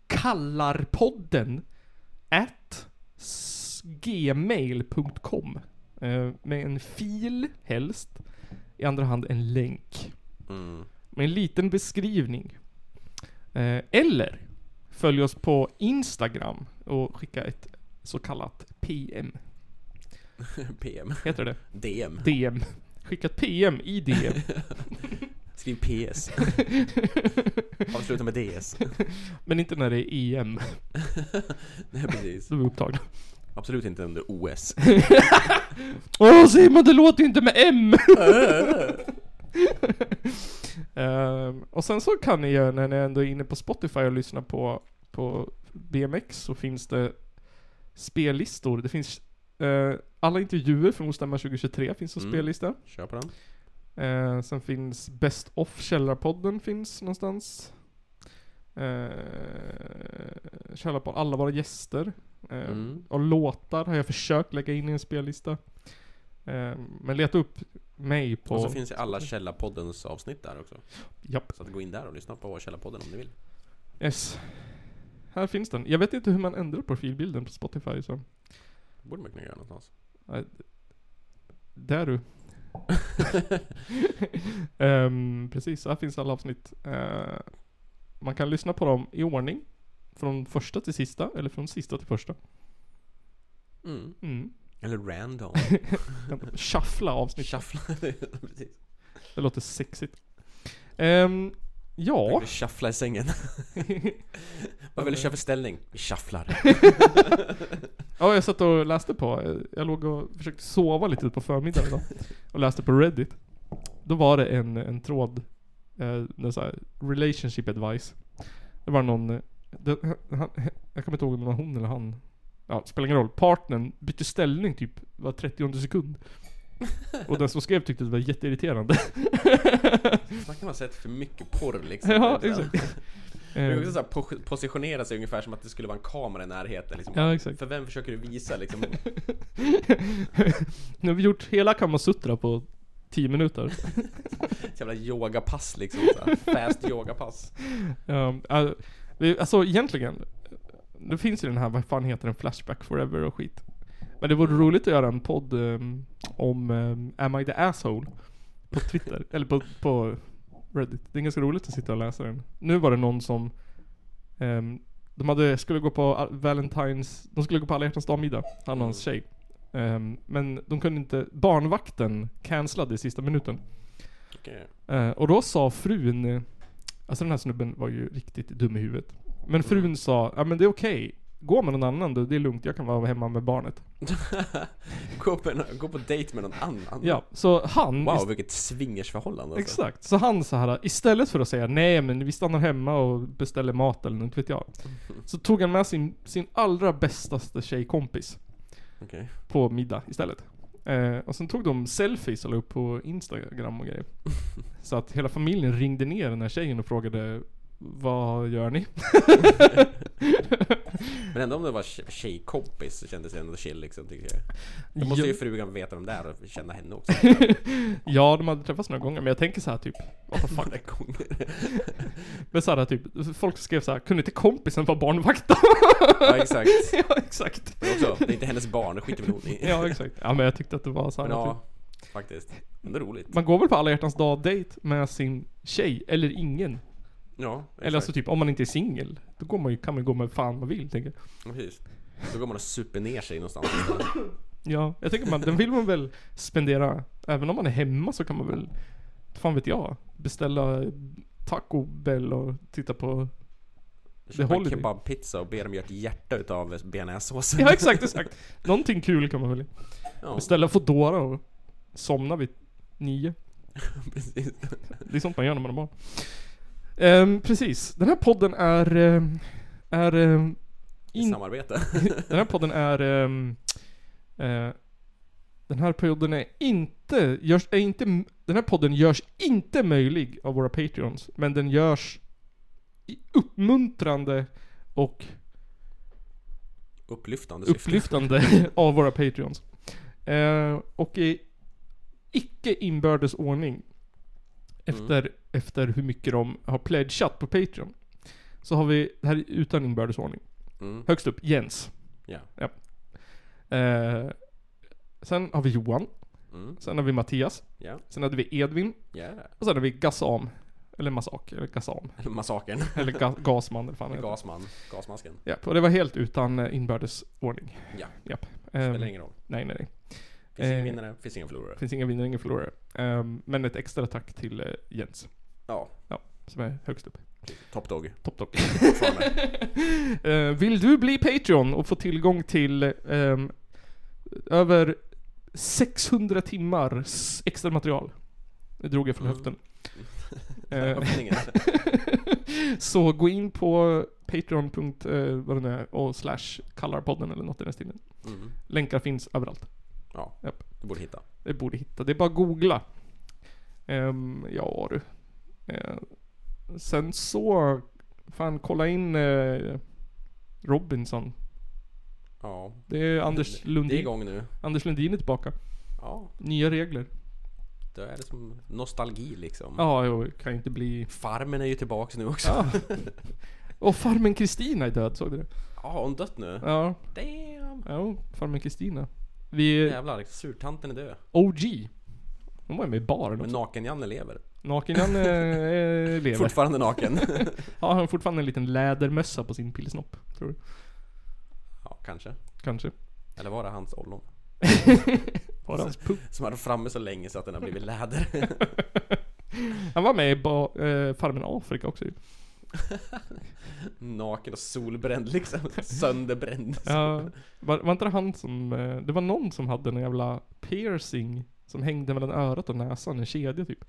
[SPEAKER 1] kallarpodden at s- gmail.com eh, med en fil helst, i andra hand en länk
[SPEAKER 2] Mm.
[SPEAKER 1] med en liten beskrivning. Eh, eller följ oss på Instagram och skicka ett så kallat PM.
[SPEAKER 2] PM.
[SPEAKER 1] Heter det
[SPEAKER 2] DM.
[SPEAKER 1] DM. Skicka ett PM i DM.
[SPEAKER 2] Skriv PS. Avsluta med DS.
[SPEAKER 1] Men inte när det är EM.
[SPEAKER 2] Nej precis.
[SPEAKER 1] Då är vi upptagna.
[SPEAKER 2] Absolut inte under OS.
[SPEAKER 1] Åh Simon, det låter ju inte med M! Ehm, och sen så kan ni göra, när ni ändå är inne på Spotify och lyssnar på, på BMX, så finns det spellistor. Det finns eh, alla intervjuer från Ostämman 2023 finns som
[SPEAKER 2] Mm.
[SPEAKER 1] spellista.
[SPEAKER 2] Kör på den.
[SPEAKER 1] Eh, sen finns Best of Källarpodden finns någonstans. Eh, Källarpodden, alla våra gäster. Eh,
[SPEAKER 2] Mm.
[SPEAKER 1] Och låtar har jag försökt lägga in i en spellista. Eh, men leta upp mig på...
[SPEAKER 2] Och så finns ju alla Källarpoddens avsnitt där också.
[SPEAKER 1] Japp.
[SPEAKER 2] Så att gå in där och lyssna på Källarpodden om ni vill.
[SPEAKER 1] Yes. Här finns den. Jag vet inte hur man ändrar profilbilden på Spotify så...
[SPEAKER 2] Det borde man kunna göra någonstans.
[SPEAKER 1] Där du. Ehm, precis, här finns alla avsnitt. Eh, man kan lyssna på dem i ordning. Från första till sista, eller från sista till första.
[SPEAKER 2] Mm.
[SPEAKER 1] Mm.
[SPEAKER 2] Eller random.
[SPEAKER 1] Shuffla avsnitt.
[SPEAKER 2] Shuffla. precis.
[SPEAKER 1] Det låter sexigt. Ehm, ja.
[SPEAKER 2] Vi shufflar i sängen. Vad vill du köra för ställning? Vi shufflar.
[SPEAKER 1] ja, jag satt och läste på. eh, Jag låg och försökte sova lite på förmiddagen idag. Och läste på Reddit. Då var det en, en tråd. Eh, det så här, relationship advice. Det var någon... eh, Det, han, eh, jag kommer inte ihåg om det var hon eller han. Ja, det spelar ingen roll. Partnern bytte ställning typ var 30 sekund. Och den som skrev tyckte det var jätteirriterande.
[SPEAKER 2] Man kan ha sett för mycket porr liksom.
[SPEAKER 1] ja,
[SPEAKER 2] Det är så här-
[SPEAKER 1] exakt.
[SPEAKER 2] Det är
[SPEAKER 1] Eh,
[SPEAKER 2] också så här, pos- positionera sig ungefär som att det skulle vara en kamera i närheten liksom.
[SPEAKER 1] Ja, exakt.
[SPEAKER 2] För vem försöker du visa liksom?
[SPEAKER 1] nu har vi gjort hela Kamasutra på 10 minuter.
[SPEAKER 2] Ett jävla yogapass liksom. Så här, fast yogapass.
[SPEAKER 1] Um, äh, vi- alltså egentligen, det finns ju den här, vad fan heter den, Flashback Forever och skit. Men det vore roligt att göra en podd um, om um, Am I the Asshole? På Twitter, eller på, på Reddit. Det är ganska roligt att sitta och läsa den. Nu var det någon som, um, de hade, skulle gå på Al- Valentine's, de skulle gå på alla hjärtans dag-middag, han och hans tjej. Um, men de kunde inte, barnvakten cancellade i sista minuten.
[SPEAKER 2] Okej.
[SPEAKER 1] Eh, och då sa frun, eh, alltså den här snubben var ju riktigt dum i huvudet. Men frun sa, ja men det är okej. Gå med någon annan du, det är lugnt, jag kan vara hemma med barnet.
[SPEAKER 2] gå, på en, gå på dejt med någon annan.
[SPEAKER 1] Ja, så han...
[SPEAKER 2] Wow,
[SPEAKER 1] ist-
[SPEAKER 2] vilket swingersförhållande alltså.
[SPEAKER 1] exakt. Så han så här istället för att säga nej men vi stannar hemma och beställer mat eller något vet jag. Så tog han med sin, sin allra bästaste tjejkompis
[SPEAKER 2] Okej.
[SPEAKER 1] på middag istället. Eh, och sen tog de selfies och la upp på Instagram och grejer. Så att hela familjen ringde ner den här tjejen och frågade Vad gör ni?
[SPEAKER 2] Men ändå om det var tje- tjejkompis så kändes det ändå chill liksom tycker jag. Då måste
[SPEAKER 1] Ja.
[SPEAKER 2] ju frugan veta vem det är och känna henne också.
[SPEAKER 1] Ja, de hade träffats några gånger, men jag tänker så här typ... What the fuck?
[SPEAKER 2] Många gånger.
[SPEAKER 1] Men så här typ, folk skrev så här, kunde inte kompisen vara barnvakt då?
[SPEAKER 2] Ja exakt.
[SPEAKER 1] ja, exakt.
[SPEAKER 2] Men också, det är inte hennes barn, det skiter väl hon i.
[SPEAKER 1] Ja, exakt. Ja, men jag tyckte att det var så här,
[SPEAKER 2] Men
[SPEAKER 1] typ,
[SPEAKER 2] ja, faktiskt. Ändå roligt.
[SPEAKER 1] Man går väl på alla hjärtans dag-dejt med sin tjej, eller ingen.
[SPEAKER 2] Ja,
[SPEAKER 1] Eller alltså typ, om man inte är singel, då går man ju, kan man ju gå med fan man vill, tänker jag.
[SPEAKER 2] Precis. Då går man och super ner sig någonstans.
[SPEAKER 1] Ja, jag tänker man, den vill man väl spendera, även om man är hemma så kan man väl fan vet jag? Beställa taco bell och titta på...
[SPEAKER 2] Köpa en
[SPEAKER 1] håller ju.
[SPEAKER 2] kebabpizza och be dem göra ett hjärta utav bearnaisesåsen.
[SPEAKER 1] Ja exakt, exakt. Någonting kul kan man välja.
[SPEAKER 2] Ja,
[SPEAKER 1] Beställa Foodora och somna vid nio.
[SPEAKER 2] precis.
[SPEAKER 1] Det är sånt man gör när man har barn. Ehm, precis. Den här podden är... ehm, är ehm,
[SPEAKER 2] I
[SPEAKER 1] in,
[SPEAKER 2] samarbete.
[SPEAKER 1] den här podden är... ehm, eh, den här podden är inte, görs, är inte... Den här podden görs inte möjlig av våra Patreons. Men den görs i uppmuntrande och
[SPEAKER 2] Upplyftande syfte.
[SPEAKER 1] upplyftande av våra Patreons. Eh, och i icke inbördes ordning efter, efter hur mycket de har pledgat på Patreon. Så har vi, det här är utan inbördes ordning.
[SPEAKER 2] Mm.
[SPEAKER 1] Högst upp, Jens.
[SPEAKER 2] Ja.
[SPEAKER 1] Eh, sen har vi Johan.
[SPEAKER 2] Mm.
[SPEAKER 1] Sen har vi Mattias.
[SPEAKER 2] Ja.
[SPEAKER 1] Sen hade vi Edvin.
[SPEAKER 2] Ja.
[SPEAKER 1] Och sen har vi Gassam. Eller Massak. Eller Gassam.
[SPEAKER 2] Eller Massakern.
[SPEAKER 1] Eller ga Gasman. Eller fan Gas.
[SPEAKER 2] Gasman. Gasmasken.
[SPEAKER 1] Japp, och det var helt utan eh, inbördes ordning.
[SPEAKER 2] Ja.
[SPEAKER 1] Japp.
[SPEAKER 2] Spelar
[SPEAKER 1] Eh,
[SPEAKER 2] ingen roll.
[SPEAKER 1] nej, nej, nej.
[SPEAKER 2] Finns
[SPEAKER 1] Eh.
[SPEAKER 2] ingen vinnare, finns ingen förlorare.
[SPEAKER 1] Det finns inga vinnare, inga förlorare. Ehm, men ett extra tack till eh, Jens,
[SPEAKER 2] Ja.
[SPEAKER 1] som är högst upp.
[SPEAKER 2] Typ Top Dog.
[SPEAKER 1] Topp, topp.
[SPEAKER 2] Fortfarande.
[SPEAKER 1] Eh, vill du bli Patreon och få tillgång till ehm, över 600 timmar s- extra material? Det drog jag från
[SPEAKER 2] Mm.
[SPEAKER 1] höften. Eh,
[SPEAKER 2] Öppningen.
[SPEAKER 1] så gå in på patreon. punkt, eh, vad det nu är, och slash kallarpodden eller något i den stilen.
[SPEAKER 2] Mm.
[SPEAKER 1] Länkar finns överallt.
[SPEAKER 2] Ja.
[SPEAKER 1] Japp.
[SPEAKER 2] Du borde hitta.
[SPEAKER 1] Det borde hitta. Det är bara att googla. Ehm, ja du. Eh, sen så, fan kolla in eh, Robinson.
[SPEAKER 2] Ja.
[SPEAKER 1] Det är Anders
[SPEAKER 2] Det är
[SPEAKER 1] Lundin.
[SPEAKER 2] igång nu.
[SPEAKER 1] Anders Lundin är tillbaka.
[SPEAKER 2] Ja.
[SPEAKER 1] Nya regler.
[SPEAKER 2] Mm. Då är det som nostalgi liksom.
[SPEAKER 1] Ja, jo, kan inte bli...
[SPEAKER 2] Farmen är ju tillbaks nu också.
[SPEAKER 1] Ja. Och farmen Kristina är död, såg du det?
[SPEAKER 2] Ja, har hon dött nu?
[SPEAKER 1] Ja,
[SPEAKER 2] Damn!
[SPEAKER 1] ja farmen Kristina. Vi är
[SPEAKER 2] Jävlar, surtanten är död.
[SPEAKER 1] OG. Hon var ju med i baren
[SPEAKER 2] Men
[SPEAKER 1] också.
[SPEAKER 2] Naken-Janne lever.
[SPEAKER 1] Naken-Jan eh, lever.
[SPEAKER 2] Fortfarande naken.
[SPEAKER 1] Ja, han har fortfarande en liten lädermössa på sin pilsnopp, tror du?
[SPEAKER 2] ja, kanske.
[SPEAKER 1] Kanske.
[SPEAKER 2] Eller var det hans ollon?
[SPEAKER 1] Var det hans puck?
[SPEAKER 2] Som hade framme så länge så att den har blivit läder.
[SPEAKER 1] Han var med i ba, eh, Farmen Afrika också ju.
[SPEAKER 2] naken och solbränd liksom. Sönderbränd.
[SPEAKER 1] ja, var, var inte det han som, eh, det var någon som hade en jävla piercing som hängde mellan örat och näsan, en kedja typ.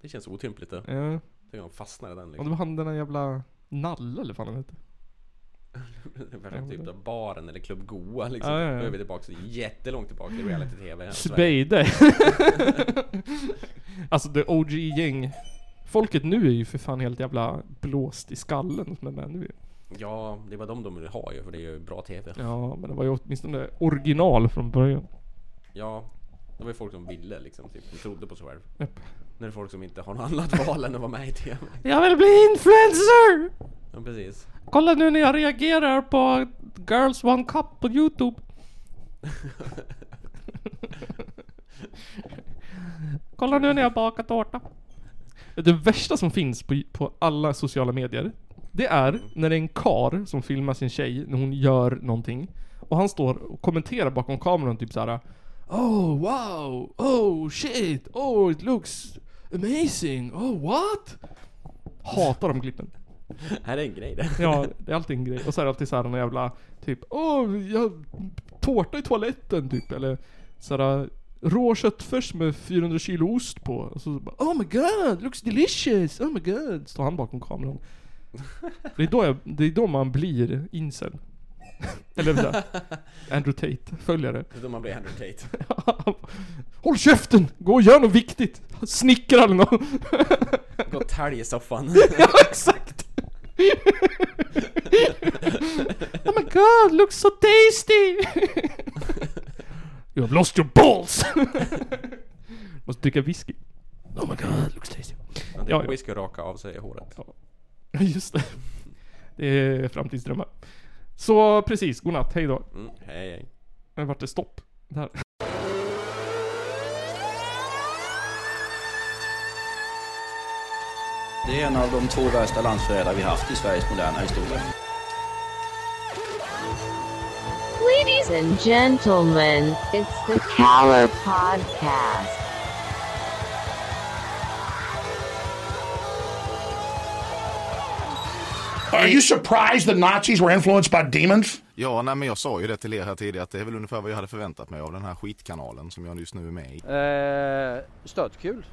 [SPEAKER 2] Det känns otympligt det.
[SPEAKER 1] Ja,
[SPEAKER 2] Tänk om han fastnar i den
[SPEAKER 1] och
[SPEAKER 2] liksom.
[SPEAKER 1] det var han den där jävla Nalle eller vad fan han hette.
[SPEAKER 2] Värsta typ av baren eller Klubb Goa liksom.
[SPEAKER 1] Ja, ja, ja.
[SPEAKER 2] Nu är vi tillbaka jättelångt tillbaka i reality-tv. här i Sverige.
[SPEAKER 1] Spejde. alltså the OG-gäng. Folket nu är ju för fan helt jävla blåst i skallen som är med nu.
[SPEAKER 2] Ja, det var de de ville ha ju för det är ju bra TV.
[SPEAKER 1] Ja, men det var ju åtminstone original från början.
[SPEAKER 2] Ja, det var ju folk som ville liksom, typ. De trodde på sig själv.
[SPEAKER 1] Japp.
[SPEAKER 2] När det är folk som inte har något annat val än att vara med i TV.
[SPEAKER 1] Jag vill bli influencer!
[SPEAKER 2] Ja, precis.
[SPEAKER 1] Kolla nu när jag reagerar på Girls One Cup på Youtube. Kolla nu när jag bakar tårta. Det värsta som finns på, på alla sociala medier, det är när det är en kar som filmar sin tjej när hon gör någonting. Och han står och kommenterar bakom kameran typ så här. Oh wow, oh shit, oh it looks amazing, oh what? Hatar de klippen.
[SPEAKER 2] Här är en grej det.
[SPEAKER 1] Ja, det är alltid en grej. Och så är det alltid såhär någon jävla typ Åh, jag tårta i toaletten typ. Eller såhär rå köttfärs med 400 kilo ost på. Och så bara Oh my god, looks delicious! Oh my god! Står han bakom kameran. Det är då, jag, det är då man blir incel. Eller såhär, Andrew Tate, följare.
[SPEAKER 2] Det är då man blir Andrew Tate.
[SPEAKER 1] Håll käften! Gå och gör något viktigt! Snickra eller något.
[SPEAKER 2] Gå och tälj i soffan.
[SPEAKER 1] Ja, exakt! oh my god, looks so tasty! you have lost your balls! Måste dricka whisky. Oh my god, looks tasty.
[SPEAKER 2] Han
[SPEAKER 1] Ja, ja.
[SPEAKER 2] dricker whisky och raka av sig håret.
[SPEAKER 1] Just det. Det är framtidsdrömmar. Så precis, godnatt, hej då.
[SPEAKER 2] Mm, hej hej.
[SPEAKER 1] Men vart det stopp? Där.
[SPEAKER 7] Det är en av de två värsta landsförrädare vi haft i Sveriges moderna historia.
[SPEAKER 8] Ladies and gentlemen, it's the Caller Podcast.
[SPEAKER 9] Are you surprised the Nazis were influenced by demons?
[SPEAKER 10] Ja, nej, men jag sa ju det till er här tidigare att det är väl ungefär vad jag hade förväntat mig av den här skitkanalen som jag just nu är med i.
[SPEAKER 4] Eh, stötkul.